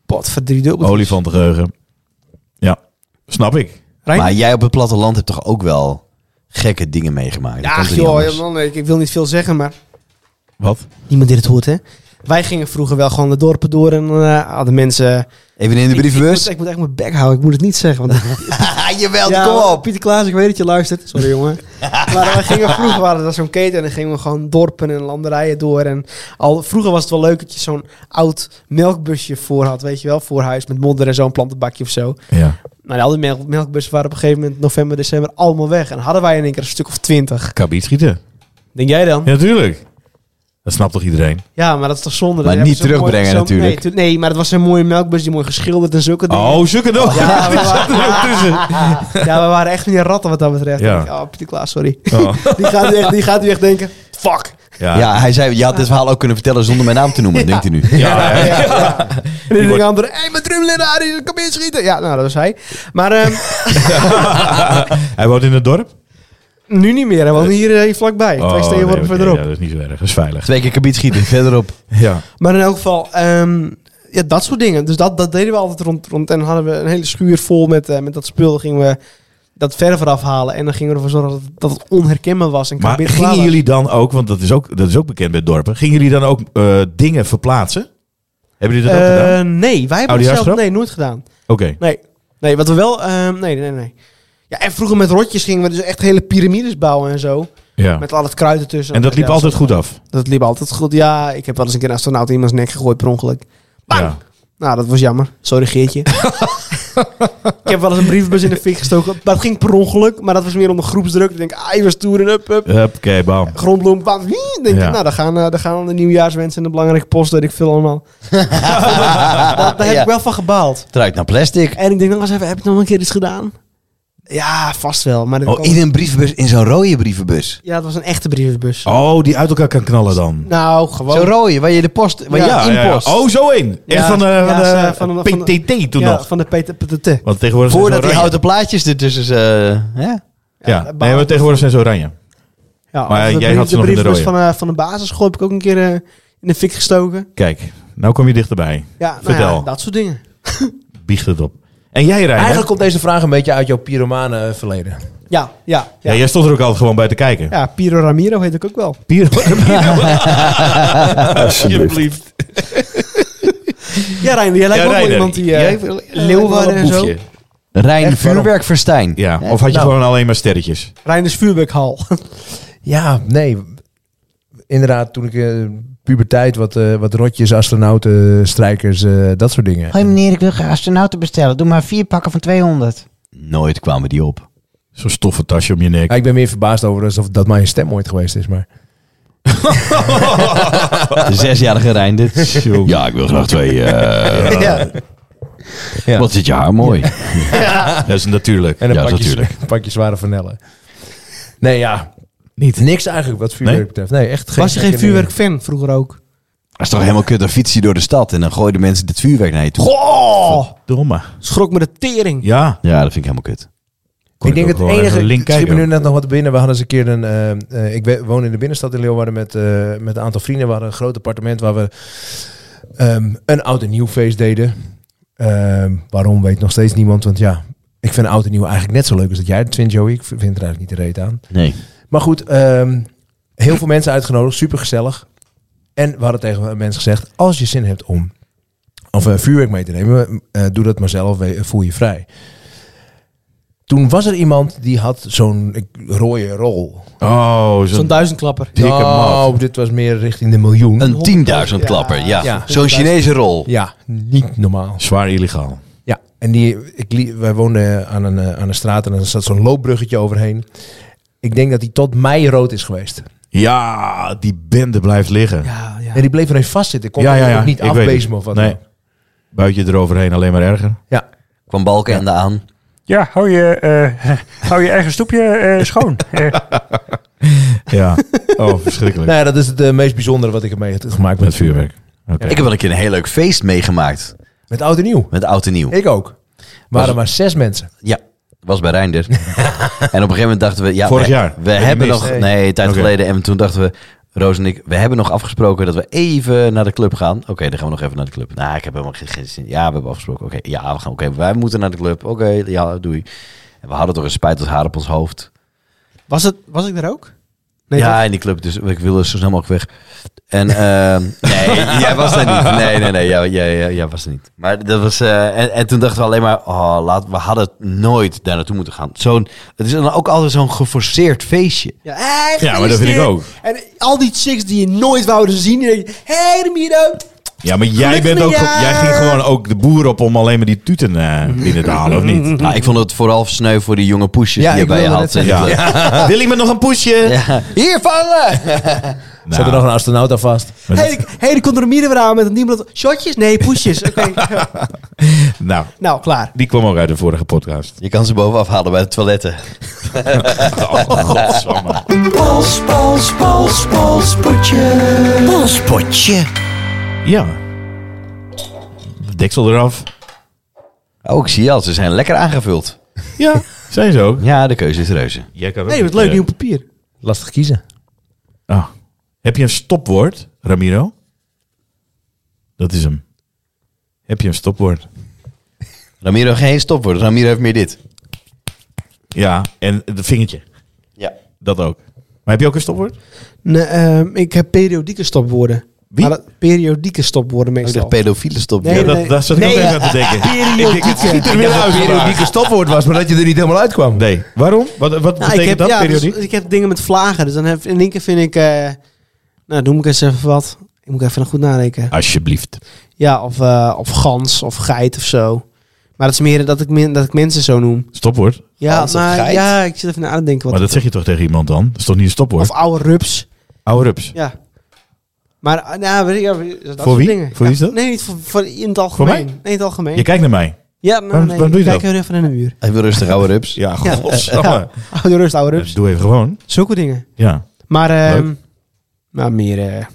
C: Pot voor drie dubbel.
B: Olifantengeheugen. Ja, snap ik.
C: Rijn?
A: Maar jij op het platteland hebt toch ook wel gekke dingen meegemaakt? Dat
C: Ja,
A: kan toch niet
C: joh,
A: anders?
C: ja, man, ik, ik wil niet veel zeggen, maar
B: Wat?
C: niemand dit het hoort, hè? Wij gingen vroeger wel gewoon de dorpen door en eh, hadden mensen...
A: Even in de
C: Ik,
A: <laughs> brievenbus.
C: moet, ik moet echt mijn bek houden, ik moet het niet zeggen,
A: <laughs>
C: want
A: Ah, Jawel,
C: Ja,
A: kom op.
C: Pieter Klaas, ik weet dat je luistert.
A: <laughs>
C: Sorry, jongen. Maar we gingen vroeger, waren dat zo'n keten, en dan gingen we gewoon dorpen en landerijen door. En al, vroeger was het wel leuk dat je zo'n oud melkbusje voor had, weet je wel, voor huis, met modder en zo'n plantenbakje of zo.
B: Ja,
C: Maar al die melk, melkbussen waren op een gegeven moment november, december allemaal weg. En hadden wij in één keer een stuk of twintig.
B: kabiet schieten.
C: Denk jij dan?
B: Ja, natuurlijk. Dat snapt toch iedereen?
C: Ja, maar dat is toch zonde.
A: Maar
C: Dan
A: niet
C: hebben ze zo'n
A: terugbrengen
C: mooi- zo'n-
A: natuurlijk.
C: Nee, tu- nee, maar het was een mooie melkbus, die mooi geschilderd en zulke dingen.
B: Oh, zoeken nog.
C: Ja,
B: Ja, <laughs>
C: we waren, ja, we waren echt meer ratten wat dat betreft.
B: Ja.
C: Dan denk ik, Oh, Pieter Klaas, sorry. Die gaat, nu echt, die gaat nu echt denken, fuck.
B: Oh. ja.
A: Ja, hij zei, je had dit verhaal ook kunnen vertellen zonder mijn naam te <laughs> noemen, denkt hij nu.
B: Ja, hè?
C: En dan
B: wordt-
C: de andere, hé, hey, mijn drumlin, Arie, kom in schieten. Ja, nou, dat was hij. Maar ehm, <laughs>
B: Hij woont in het dorp?
C: nu niet meer, hè, want hier, eh, hier vlakbij. Twee steden worden
B: Oh, oké,
C: verderop.
B: Ja, dat is niet zo erg. Dat is veilig.
A: Twee keer kabiet schieten, <laughs> verderop.
B: Ja.
C: Maar in elk geval, ehm, ja, dat soort dingen. Dus dat, dat deden we altijd rond, rond. En hadden we een hele schuur vol met, eh, met dat spul. Dan gingen we dat verf eraf halen. En dan gingen we ervoor zorgen dat, het- dat het onherkenbaar was. En
B: Maar
C: kabit
B: gingen
C: klaar was.
B: jullie dan ook, want dat is ook, dat is ook bekend bij dorpen, gingen jullie dan ook eh, dingen verplaatsen? Hebben jullie dat ook
C: Eh,
B: gedaan?
C: Nee, wij hebben
B: Oh, die
C: het zelf
B: huisgrap?
C: nee, nooit gedaan.
B: Oké.
C: Nee. Nee, wat we wel... ehm, nee, nee, nee. Ja, en vroeger met rotjes gingen we dus echt hele piramides bouwen en zo.
B: Ja.
C: Met al het kruid ertussen.
B: En dat liep
C: Ja,
B: altijd goed af?
C: Dat liep altijd goed. Ja, ik heb wel eens een keer een astronaut in iemands nek gegooid per ongeluk. Bang!
B: Ja.
C: Nou, dat was jammer. Sorry,
B: <laughs>
C: Geertje. ik heb wel eens een brievenbus in de fik gestoken. Maar dat ging per ongeluk. Maar dat was meer om de groepsdruk. Ik denk, ah, je was toer en up, up.
B: Oké, bam.
C: Grondbloem, bam. Wie? Denk
B: Ja.
C: ik, nou, daar gaan, eh, daar gaan de nieuwjaarswensen en de belangrijke post, weet ik veel
A: <laughs>
C: allemaal. daar daar heb
A: Ah, Ja.
C: ik wel van gebaald.
A: Het ruikt naar plastic.
C: En ik denk, nog eens even, heb ik nog een keer iets gedaan? Ja, vast wel. Maar dan
A: Oh,
C: kwam-
A: in een brievenbus, in zo'n rode brievenbus.
C: Ja, het was een echte brievenbus.
B: Oh, die uit elkaar kan knallen dan.
C: Nou, gewoon.
A: Zo'n rode, waar je de post, waar
C: Ja,
A: je inpost.
B: Oh, zo één. Echt
C: Ja,
B: van de,
C: ja,
B: van eh, de-
C: ze- van de- van de-
B: PTT toen
C: ja,
B: nog.
C: van de PTT.
B: Want tegenwoordig zijn
A: Voordat
B: ze
A: die
B: oranje.
A: houten plaatjes ertussen... eh, hè?
B: Ja,
C: Ja,
B: nee, maar tegenwoordig zijn ze oranje.
C: Ja,
B: Maar
C: of
B: jij had ze nog in de
C: brievenbus
B: rode.
C: Van, eh, van de basisschool heb ik ook een keer eh, in de fik gestoken.
B: Kijk, nou kom je dichterbij.
C: Ja, nou
B: Vertel.
C: ja, dat soort dingen.
B: Biecht het op. En jij rijdt.
D: Eigenlijk komt deze vraag een beetje uit jouw pyromane eh, verleden.
C: Ja, ja,
B: Ja.
C: ja. ja,
B: jij stond er ook altijd gewoon bij te kijken.
C: Piro Ramiro heet ik ook wel.
B: <laughs> Pier.
E: Alsjeblieft.
C: Ja, Reiner, jij lijkt ook wel
B: Reiner,
C: iemand die... eh,
B: jij-
C: Leeuwarden en zo.
A: Rijn
D: Echt, waarom?
A: vuurwerkverstijn.
B: Ja, of had je
D: Nou.
B: gewoon alleen maar sterretjes?
C: Reiners
B: <laughs>
C: vuurwerkhal.
D: Ja, nee. Inderdaad, toen ik eh, puberteit, wat, eh, wat rotjes, astronauten, strijkers, eh, dat soort dingen.
G: Hoi meneer, ik wil graag astronauten bestellen. Doe maar vier pakken van 200.
A: Nooit kwamen die op.
B: Zo'n stoffen tasje om je nek.
D: Ja, ik ben meer verbaasd over alsof dat mijn stem ooit geweest is. Maar
A: De zesjarige Rijn dit. Ja, ik wil graag twee. eh,
D: <laughs> Ja.
A: Wat zit je haar mooi.
B: Dat is natuurlijk.
D: En een
A: Ja,
D: pakje, <laughs>
A: natuurlijk.
D: pakje zware vanellen. Nee, ja. Niet. Niks eigenlijk wat vuurwerk
B: Nee?
D: betreft. Nee, echt geen.
C: Was je geen vuurwerkfan vroeger ook?
A: Dat is toch helemaal kut, dan fiets je door de stad en dan gooiden mensen dit vuurwerk naar je toe.
C: Goh!
B: Domme.
C: Schrok me de tering.
B: Ja.
A: Ja, dat vind ik helemaal kut.
B: Kon
D: ik denk
B: ook
D: het
B: wel even
D: enige.
B: Link
D: Ik schiet me
B: kijken.
D: nu net nog wat binnen. We hadden eens een keer een. eh, eh, ik we- woon in de binnenstad in Leeuwarden met, eh, met een aantal vrienden. We hadden een groot appartement waar we ehm, een oud en nieuw feest deden. Ehm, waarom weet nog steeds niemand. Want ja, ik vind oud en nieuw eigenlijk net zo leuk als dat jij het vindt, Joey. Ik vind er eigenlijk niet de reet aan.
A: Nee.
D: Maar goed, ehm, heel veel mensen uitgenodigd, super gezellig. En we hadden tegen mensen gezegd: als je zin hebt om of eh, vuurwerk mee te nemen, eh, doe dat maar zelf, we- voel je vrij. Toen was er iemand die had zo'n eh, rode rol.
B: Oh,
C: Zo'n
B: zo'n
C: duizendklapper.
B: dikke man.
D: Oh, dit was meer richting de miljoen.
A: Een 10.000 klapper, ja.
D: Ja.
A: Zo'n Chinese rol.
D: Ja, niet normaal.
B: Zwaar illegaal.
D: Ja, en die, ik, li- wij woonden aan een, eh, aan een straat en er zat zo'n loopbruggetje overheen. Ik denk dat die tot mei rood is geweest.
B: Ja, die bende blijft liggen.
C: Ja, ja.
D: En die bleef er even vastzitten. Ik kon
B: ja, ja,
D: er
B: ja.
D: ook niet
B: ik weet
D: afbezen
B: het.
D: of wat
B: Nee.
D: dan.
B: Buit je eroverheen, alleen maar erger.
D: Ja,
A: Kwam Balkenende aan.
H: Ja, hou je, eh, hou je eigen stoepje eh, schoon. Eh,
B: Ja. Oh, verschrikkelijk.
D: Nou ja, dat is het eh, meest bijzondere wat ik heb meegemaakt
B: Met
D: met,
B: vuurwerk. Oké.
A: Ik heb wel een keer een heel leuk feest meegemaakt.
D: met oud en nieuw.
A: Met oud en nieuw.
D: Ik ook. Er waren maar zes mensen.
A: Ja, was bij Reinder.
B: <laughs>
A: en op een gegeven moment dachten we... Ja,
B: Vorig
A: we,
B: jaar?
A: We
B: Heb je
A: hebben
B: gemist?
A: nog...
D: Nee.
A: Nee, een tijd
B: Oké.
A: geleden. En toen dachten we... Roos en ik, we hebben nog afgesproken dat we even naar de club gaan. Oké, dan gaan we nog even naar de club. Nou, ik heb helemaal geen, geen zin. Ja, we hebben afgesproken. Oké, ja, we gaan. Oké, wij moeten naar de club. Oké, ja, doei. En we hadden toch een spijt als haar op ons hoofd.
C: Was, het, was ik daar ook? Nee,
A: ja, in die club. Dus ik wilde zo snel mogelijk weg. En ehm, <laughs> nee, jij was er niet. Nee, nee, nee. Jij, jij, jij, jij was er niet. Maar dat was... eh, en, en toen dachten we alleen maar... Oh, laat, we hadden nooit daar naartoe moeten gaan. Zo'n, het is dan ook altijd zo'n geforceerd feestje.
C: Ja, hey,
B: Ja, maar dat vind ik ook.
C: En al die chicks die je nooit wouden zien. die denken, hey, Ramiro.
B: Ja, maar jij,
C: Gelukkig
B: bent ook,
C: nieuwjaar!
B: jij ging gewoon ook de boer op om alleen maar die tuten eh, binnen te halen, of niet?
A: Nou, ik vond het vooral sneu voor die jonge poesjes
D: Ja,
A: die je
D: ik
A: bij je
D: wilde
A: had.
D: net
A: in die club.
B: Wil iemand nog een poesje? Nou,
A: Ja. Hier vangen!
D: Zat er nog een astronaut aan vast.
C: Hey, ik- hey, er komt Ramiro weer aan met een niemand. Shotjes? Nee,
B: <laughs>
C: poesjes. Oké.
B: Nou,
C: nou, klaar.
B: die kwam ook uit de vorige
A: <laughs>
B: podcast.
A: Je kan ze bovenaf halen bij de toiletten.
B: Oh, godsamme.
F: Pols, pols, pols, pols, potje.
A: Polspotje.
B: Ja. Deksel eraf.
A: Oh, ik zie je al. Ze zijn lekker aangevuld.
B: Ja, zijn ze ook.
A: Ja, de keuze is reuze.
B: Jij kan ook
C: Nee, wat
B: niet,
C: leuk.
B: eh,
C: Nieuw papier.
D: Lastig kiezen.
B: ah. Heb je een stopwoord, Ramiro? Dat is hem. Heb je een stopwoord?
A: Ramiro geen stopwoord. Ramiro heeft meer dit.
B: Ja, en het vingertje.
A: Ja.
B: Dat ook. Maar heb je ook een stopwoord?
C: Nee, ehm, ik heb periodieke stopwoorden.
B: Wie? Oh,
C: Maar dat- periodieke stopwoorden
A: Ik
C: meestal.
A: dacht pedofiele stopwoord.
C: Nee,
B: Ja,
C: nee,
B: dat, daar zat ik
C: nee,
B: ook
C: ja.
B: even aan te denken.
C: Periodieke.
B: Ik denk, het schiet er weer uit.
D: periodieke stopwoord was, maar dat je er niet helemaal uitkwam.
B: Nee. Waarom? Wat, wat
C: Nou,
B: betekent dat,
C: ja, dus
B: periodiek?
C: ik heb dingen met vlagen. Dus dan heb, in één keer vind ik... eh, nou, doe ik eens even wat. Ik moet even goed nadenken.
B: Alsjeblieft.
C: Ja, of, eh, of gans of geit of zo. Maar dat is meer dat ik, men- dat ik mensen zo noem.
B: Stopwoord.
C: Ja,
A: Gans of
C: maar,
A: geit?
C: ja ik zit even na te denken.
B: Maar
C: Wat
B: dat zeg je toch tegen iemand dan? Dat is toch niet een stopwoord?
C: of oude rups.
B: Oude rups.
C: Ja. Maar eh, nou, weet ik, ja, dat soort
B: Voor wie?
C: dingen.
B: Voor wie is dat?
C: Nee, niet voor, voor- in het algemeen.
B: Voor mij?
C: Nee, in het algemeen.
B: Je kijkt naar mij.
C: ja, nou,
B: waarom-
C: nee,
B: waarom doe je
C: kijk
B: dat?
C: weer even in een uur.
A: Even rustig, oude rups.
B: Ja, godsamme.
C: <laughs> Oude rust, oude rups.
B: Dus Doe even gewoon.
C: Zulke dingen.
B: Ja.
C: Maar, ehm maar meer... eh,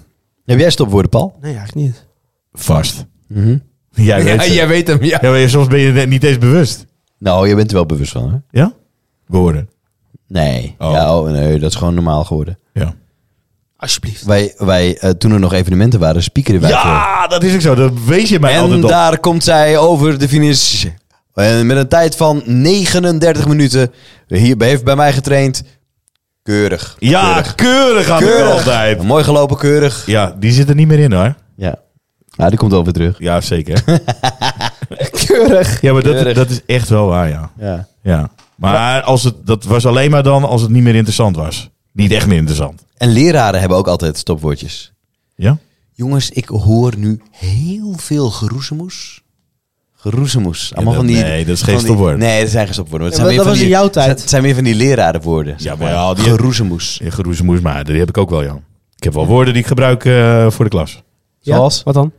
A: Heb jij stopwoorden, Paul?
C: nee, eigenlijk niet.
B: Vast.
D: Mhm.
B: Jij weet
D: Ja,
B: het.
D: jij weet hem. Ja.
B: Ja, maar je- soms ben je er niet eens bewust.
A: Nou, je bent er wel bewust van, hè?
B: Ja? Woorden.
A: Nee.
B: Oh.
A: Ja, oh, nee, dat is gewoon normaal geworden.
B: Ja.
C: Alsjeblieft.
A: Wij, wij eh, toen er nog evenementen waren, spiekeren wij veel.
B: Ja, dat is ook zo. Dat wees je mij
A: En
B: altijd op.
A: daar komt zij over de finish. En met een tijd van 39 minuten. Hier heeft bij mij getraind. Keurig.
B: Ja,
A: Keurig.
B: keurig aan de
A: Keurig.
B: altijd.
A: Mooi gelopen, keurig.
B: Ja, die zit er niet meer in hoor.
A: Ja. Nou, die komt wel weer terug.
B: Ja,
A: <laughs>
B: zeker.
A: Keurig.
B: <laughs> Ja, maar dat,
A: Keurig.
B: dat is echt wel waar, ja.
A: Ja.
B: ja. Maar als het, dat was alleen maar dan als het niet meer interessant was. Niet echt meer interessant.
A: En leraren hebben ook altijd stopwoordjes.
B: Ja?
A: Jongens, ik hoor nu heel veel geroezemoes. Geroezemoes. Allemaal
B: dat-
A: van die,
B: nee, dat is geen
A: van die-
B: stopwoord.
A: Nee, dat zijn geen stopwoorden. Het
C: Ja,
A: zijn
C: maar
A: weer
C: dat
A: van
C: was
A: die-
C: in jouw tijd.
A: Het zijn weer van die lerarenwoorden.
B: Ja,
A: zeg
B: maar ja, die-
A: Geroezemoes.
B: Ja, Geroezemoes, maar die heb ik ook wel, Jan. Ik heb wel woorden die ik gebruik eh, voor de klas.
A: Zoals?
C: Wat dan?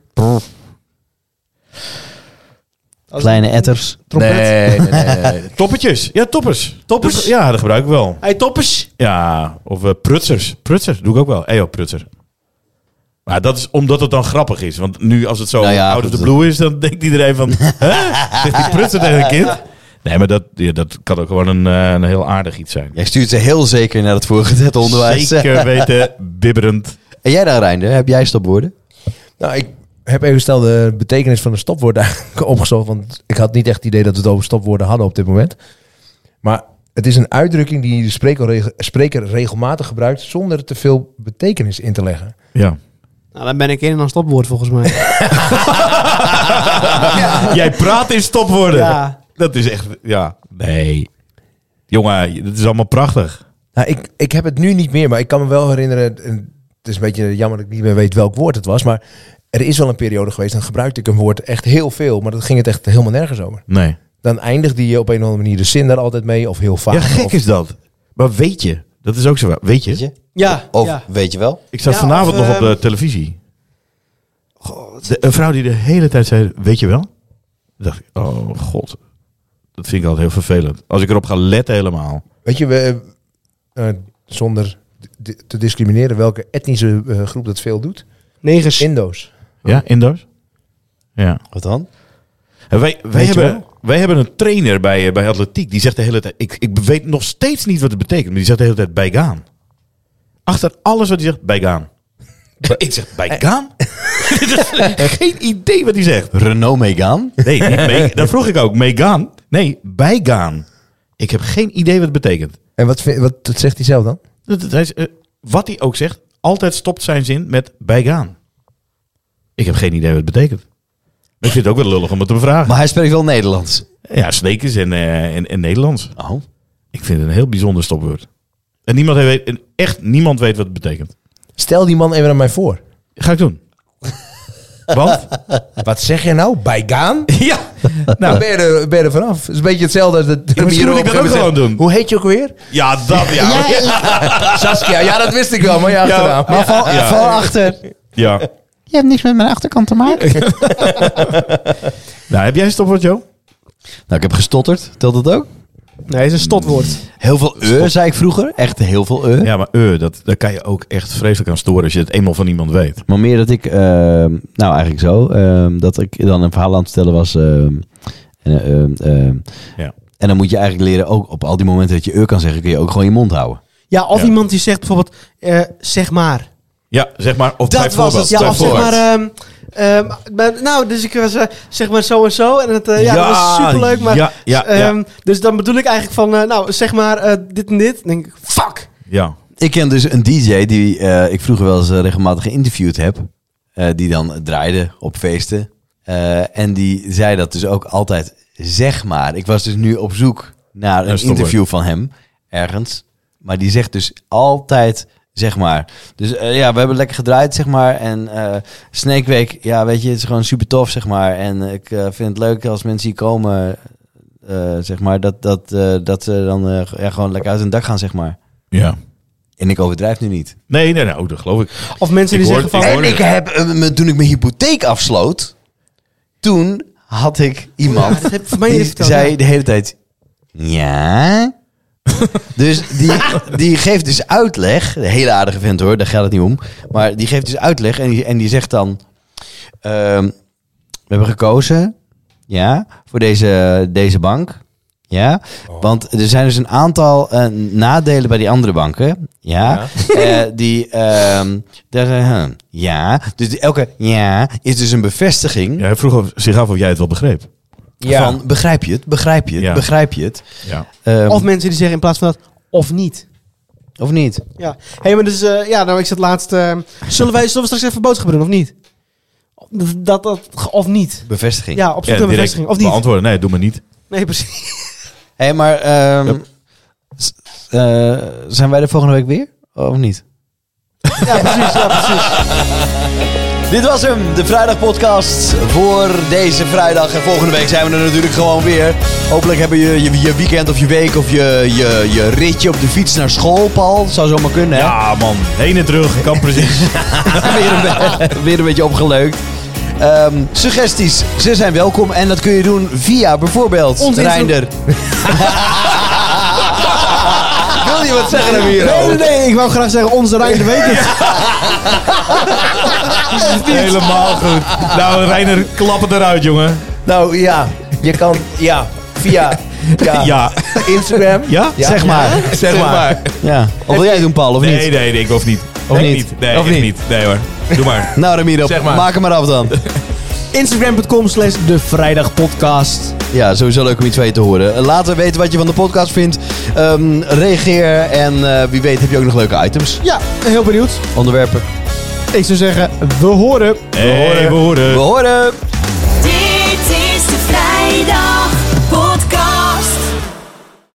A: Kleine etters.
D: Nee, nee, nee, nee.
B: <laughs> Toppetjes. Ja, toppers. Toppers? ja, dat gebruik ik wel.
C: Hey, toppers.
B: Ja, of eh, prutsers. Prutsers doe ik ook wel. Ejo, prutser. Maar dat is omdat het dan grappig is. Want nu als het zo
A: Nou ja,
B: out of the
A: goed,
B: blue is, dan denkt iedereen <laughs> van... "Hè? Zegt die prutser tegen een kind? Nee, maar dat, ja, dat kan ook gewoon een, eh, een heel aardig iets zijn.
A: Jij stuurt ze heel zeker naar het voorgezet onderwijs.
B: <laughs> Zeker weten, bibberend.
A: En jij dan, Reinder? Heb jij stopwoorden?
D: Nou, ik, heb even snel de betekenis van een stopwoord eigenlijk <laughs> opgezocht. Want ik had niet echt het idee dat we het over stopwoorden hadden op dit moment. Maar het is een uitdrukking die de spreker, regel- spreker regelmatig gebruikt zonder te veel betekenis in te leggen.
B: <laughs> Ja.
C: Nou, daar ben ik in en dan stopwoord volgens mij.
B: Jij praat in stopwoorden.
C: Ja.
B: Dat is echt, ja. Nee. Jongen, dat is allemaal prachtig.
D: Nou, ik, ik heb het nu niet meer, maar ik kan me wel herinneren. en Het is een beetje jammer dat ik niet meer weet welk woord het was. Maar er is wel een periode geweest. Dan gebruikte ik een woord echt heel veel. Maar dan ging het echt helemaal nergens over.
B: Nee.
D: Dan eindigde je op een of andere manier de zin daar altijd mee. Of heel vaak.
B: Ja, gek
D: of-
B: is dat. Maar weet je, dat is ook zo. waar. Weet je,
A: Weet je?
C: <laughs> Ja,
A: Of
C: ja.
A: weet je wel?
B: ik zat
C: Ja,
B: vanavond
C: of,
B: nog op de
C: ehm,
B: televisie. De- een vrouw die de hele tijd zei, weet je wel? Dan dacht ik, oh god. Dat vind ik altijd heel vervelend. Als ik erop ga letten helemaal.
D: Weet je, we, eh, eh, zonder di- te discrimineren welke etnische eh, groep dat veel doet.
C: Negers.
D: Indo's.
B: Ja, Indo's? Ja.
A: Wat dan?
B: En wij, wij,
D: je
B: hebben, wij hebben een trainer bij, eh, bij atletiek. Die zegt de hele tijd... Ik, ik weet nog steeds niet wat het betekent. Maar die zegt de hele tijd bijgaan. Achter alles wat hij zegt, <laughs> bijgaan. ik zeg, <laughs> bijgaan? Geen idee wat hij zegt.
A: Renault Megaan?
B: Nee, niet mee, dat vroeg ik ook. Meegaan? Nee, bijgaan. Ik heb geen idee wat het betekent.
D: En wat, vind- wat wat zegt hij zelf dan?
B: Dat- dat- hij is, eh, wat hij ook zegt, altijd stopt zijn zin met bijgaan. Ik heb geen idee wat het betekent. Maar ik vind het ook wel lullig om het te bevragen.
A: Maar hij spreekt wel Nederlands.
B: Ja, sneakers en, eh, en, en Nederlands.
A: Oh.
B: Ik vind het een heel bijzonder stopwoord. En niemand weet, en echt niemand weet wat het betekent.
D: Stel die man even aan mij voor.
B: Ga ik doen. Want?
D: Wat zeg je nou? Bijgaan?
B: <laughs> ja.
D: Nou, ben je, er, ben je er vanaf. Het is een beetje hetzelfde als dat...
B: misschien
D: hier
B: moet ik
D: op
B: dat
D: een
B: ook
D: gegeven moment
B: gewoon
D: zegt,
B: doen.
D: Hoe heet je ook
B: <laughs>
D: weer?
B: Ja, dat ja. Ja.
D: Saskia. Ja, dat wist ik wel, maar ja, achternaam.
G: Maar val,
B: Ja.
G: val achter.
B: ja.
G: Je hebt niks met mijn achterkant te maken.
B: Nou, heb jij een stopwoord, Jo?
A: Nou, ik heb gestotterd. Telt dat ook?
C: Nee, het is een stotwoord.
A: Heel veel eh, zei ik vroeger. Echt heel veel eh.
B: Ja, maar eh, dat, daar kan je ook echt vreselijk aan storen als je het eenmaal van iemand weet.
A: Maar meer dat ik, ehm, nou eigenlijk zo, ehm, dat ik dan een verhaal aan het vertellen was. ehm, en, ehm, ehm,
B: Ja.
A: en dan moet je eigenlijk leren, ook op al die momenten dat je eh kan zeggen, kun je ook gewoon je mond houden.
C: Ja, of
B: Ja.
C: iemand die zegt bijvoorbeeld, eh, zeg maar.
B: Ja, zeg maar. Of
C: Dat
B: bijvoorbeeld.
C: was het. Ja, of zeg
B: Bijvoorbeeld.
C: maar, ehm, ehm, maar- nou, dus ik was eh, zeg maar zo en zo. En het, eh, ja, dat was superleuk. Maar,
B: ja, ja, ja,
C: ehm, Dus dan bedoel ik eigenlijk van, eh, nou, zeg maar eh, dit en dit. Dan denk ik, fuck.
B: ja.
A: Ik ken dus een DJ die eh, ik vroeger wel eens eh, regelmatig geïnterviewd heb. eh, die dan draaide op feesten. Eh, en die zei dat dus ook altijd, zeg maar. Ik was dus nu op zoek naar een
B: stopwoord.
A: interview van hem ergens. Maar die zegt dus altijd, zeg maar. Dus eh, ja, we hebben lekker gedraaid, zeg maar. En eh Snake Week, ja, weet je, het is gewoon super tof, zeg maar. En ik eh, vind het leuk als mensen hier komen, eh, zeg maar. Dat, dat, eh, dat ze dan eh, ja, gewoon lekker uit hun dak gaan, zeg maar.
B: ja.
A: En ik overdrijf nu niet.
B: Nee, nee, nou, dat geloof ik.
C: Of mensen
B: Ik
C: die
B: hoor-
C: zeggen van,
B: ik
A: En ik heb, eh, me- toen ik mijn hypotheek afsloot, toen had ik iemand
C: <laughs> Ja, dat heb- voor mij
A: die
C: is het wel,
A: zei
C: ja.
A: de hele tijd, ja. dus die, die geeft dus uitleg, een hele aardige vent hoor, daar gaat het niet om. Maar die geeft dus uitleg en die, en die zegt dan, ehm, we hebben gekozen, ja, voor deze, deze bank. Ja, want er zijn dus een aantal eh, nadelen bij die andere banken. Ja, Eh, die ehm, daar zijn, huh, ja, dus die- elke ja is dus een bevestiging
B: Ja, hij vroeg of- zich af of jij het wel begreep.
A: van begrijp je het, begrijp je het,
B: Ja.
A: begrijp je het,
B: Ja.
A: Ehm,
C: of mensen die zeggen in plaats van dat, of niet.
A: of niet?
C: Ja, hey, maar dus, eh, ja, nou, ik zat laatst, eh, zullen, wij, zullen we straks even boodschappen doen, of niet? Dat, dat, of niet.
A: Bevestiging.
C: Ja, op zoek
B: Ja,
C: naar
B: direct
C: bevestiging, of niet?
B: Beantwoorden, nee, doe maar niet.
C: Nee, precies.
A: Hé, hey, maar ehm, s- eh, zijn wij er volgende week weer? Of niet?
C: Ja, precies, ja,
B: <laughs>
C: precies.
A: Dit was hem, de vrijdagpodcast voor deze vrijdag. En volgende week zijn we er natuurlijk gewoon weer. Hopelijk hebben je je, je weekend of je week of je, je, je ritje op de fiets naar school, Paul. Zou zomaar kunnen, hè?
B: Ja, man. Heen en terug, kan
C: <laughs>
B: precies.
A: <laughs> weer, een be- weer een beetje opgeleukt. Ehm, suggesties, ze zijn welkom. En dat kun je doen via bijvoorbeeld
C: Ons Insta- <laughs>
A: Reinder. Wil je wat zeggen dan hier?
B: Oh.
C: Nee, nee, nee, ik wou graag zeggen, onze Rijn weet het. Oh,
B: Helemaal goed. Nou, Reiner, klappen eruit, jongen.
D: Nou ja, je kan... Ja,
B: <laughs>
D: via... Ja,
B: Ja.
D: Instagram.
B: Ja?
A: Zeg maar.
D: Zeg maar.
A: Ja. Of wil jij het doen, Paul, of niet?
B: Nee, nee, nee, ik hoef niet.
A: Of
B: Ik
A: niet?
B: Nee,
D: Of
B: ik
D: niet?
B: niet. Nee hoor. Doe maar.
A: Nou Ramiro,
D: Zeg maar.
A: maak hem maar af
C: <laughs>
A: dan.
C: Instagram.com slash de vrijdagpodcast.
A: Ja, sowieso leuk om iets van je te horen. Laat er weten wat je van de podcast vindt. Ehm, reageer en eh, wie weet heb je ook nog leuke items,
C: Ja, heel benieuwd.
A: onderwerpen.
C: Ik zou zeggen, <laughs> we horen.
B: Hey, we horen.
A: We horen!
I: Dit is de vrijdag.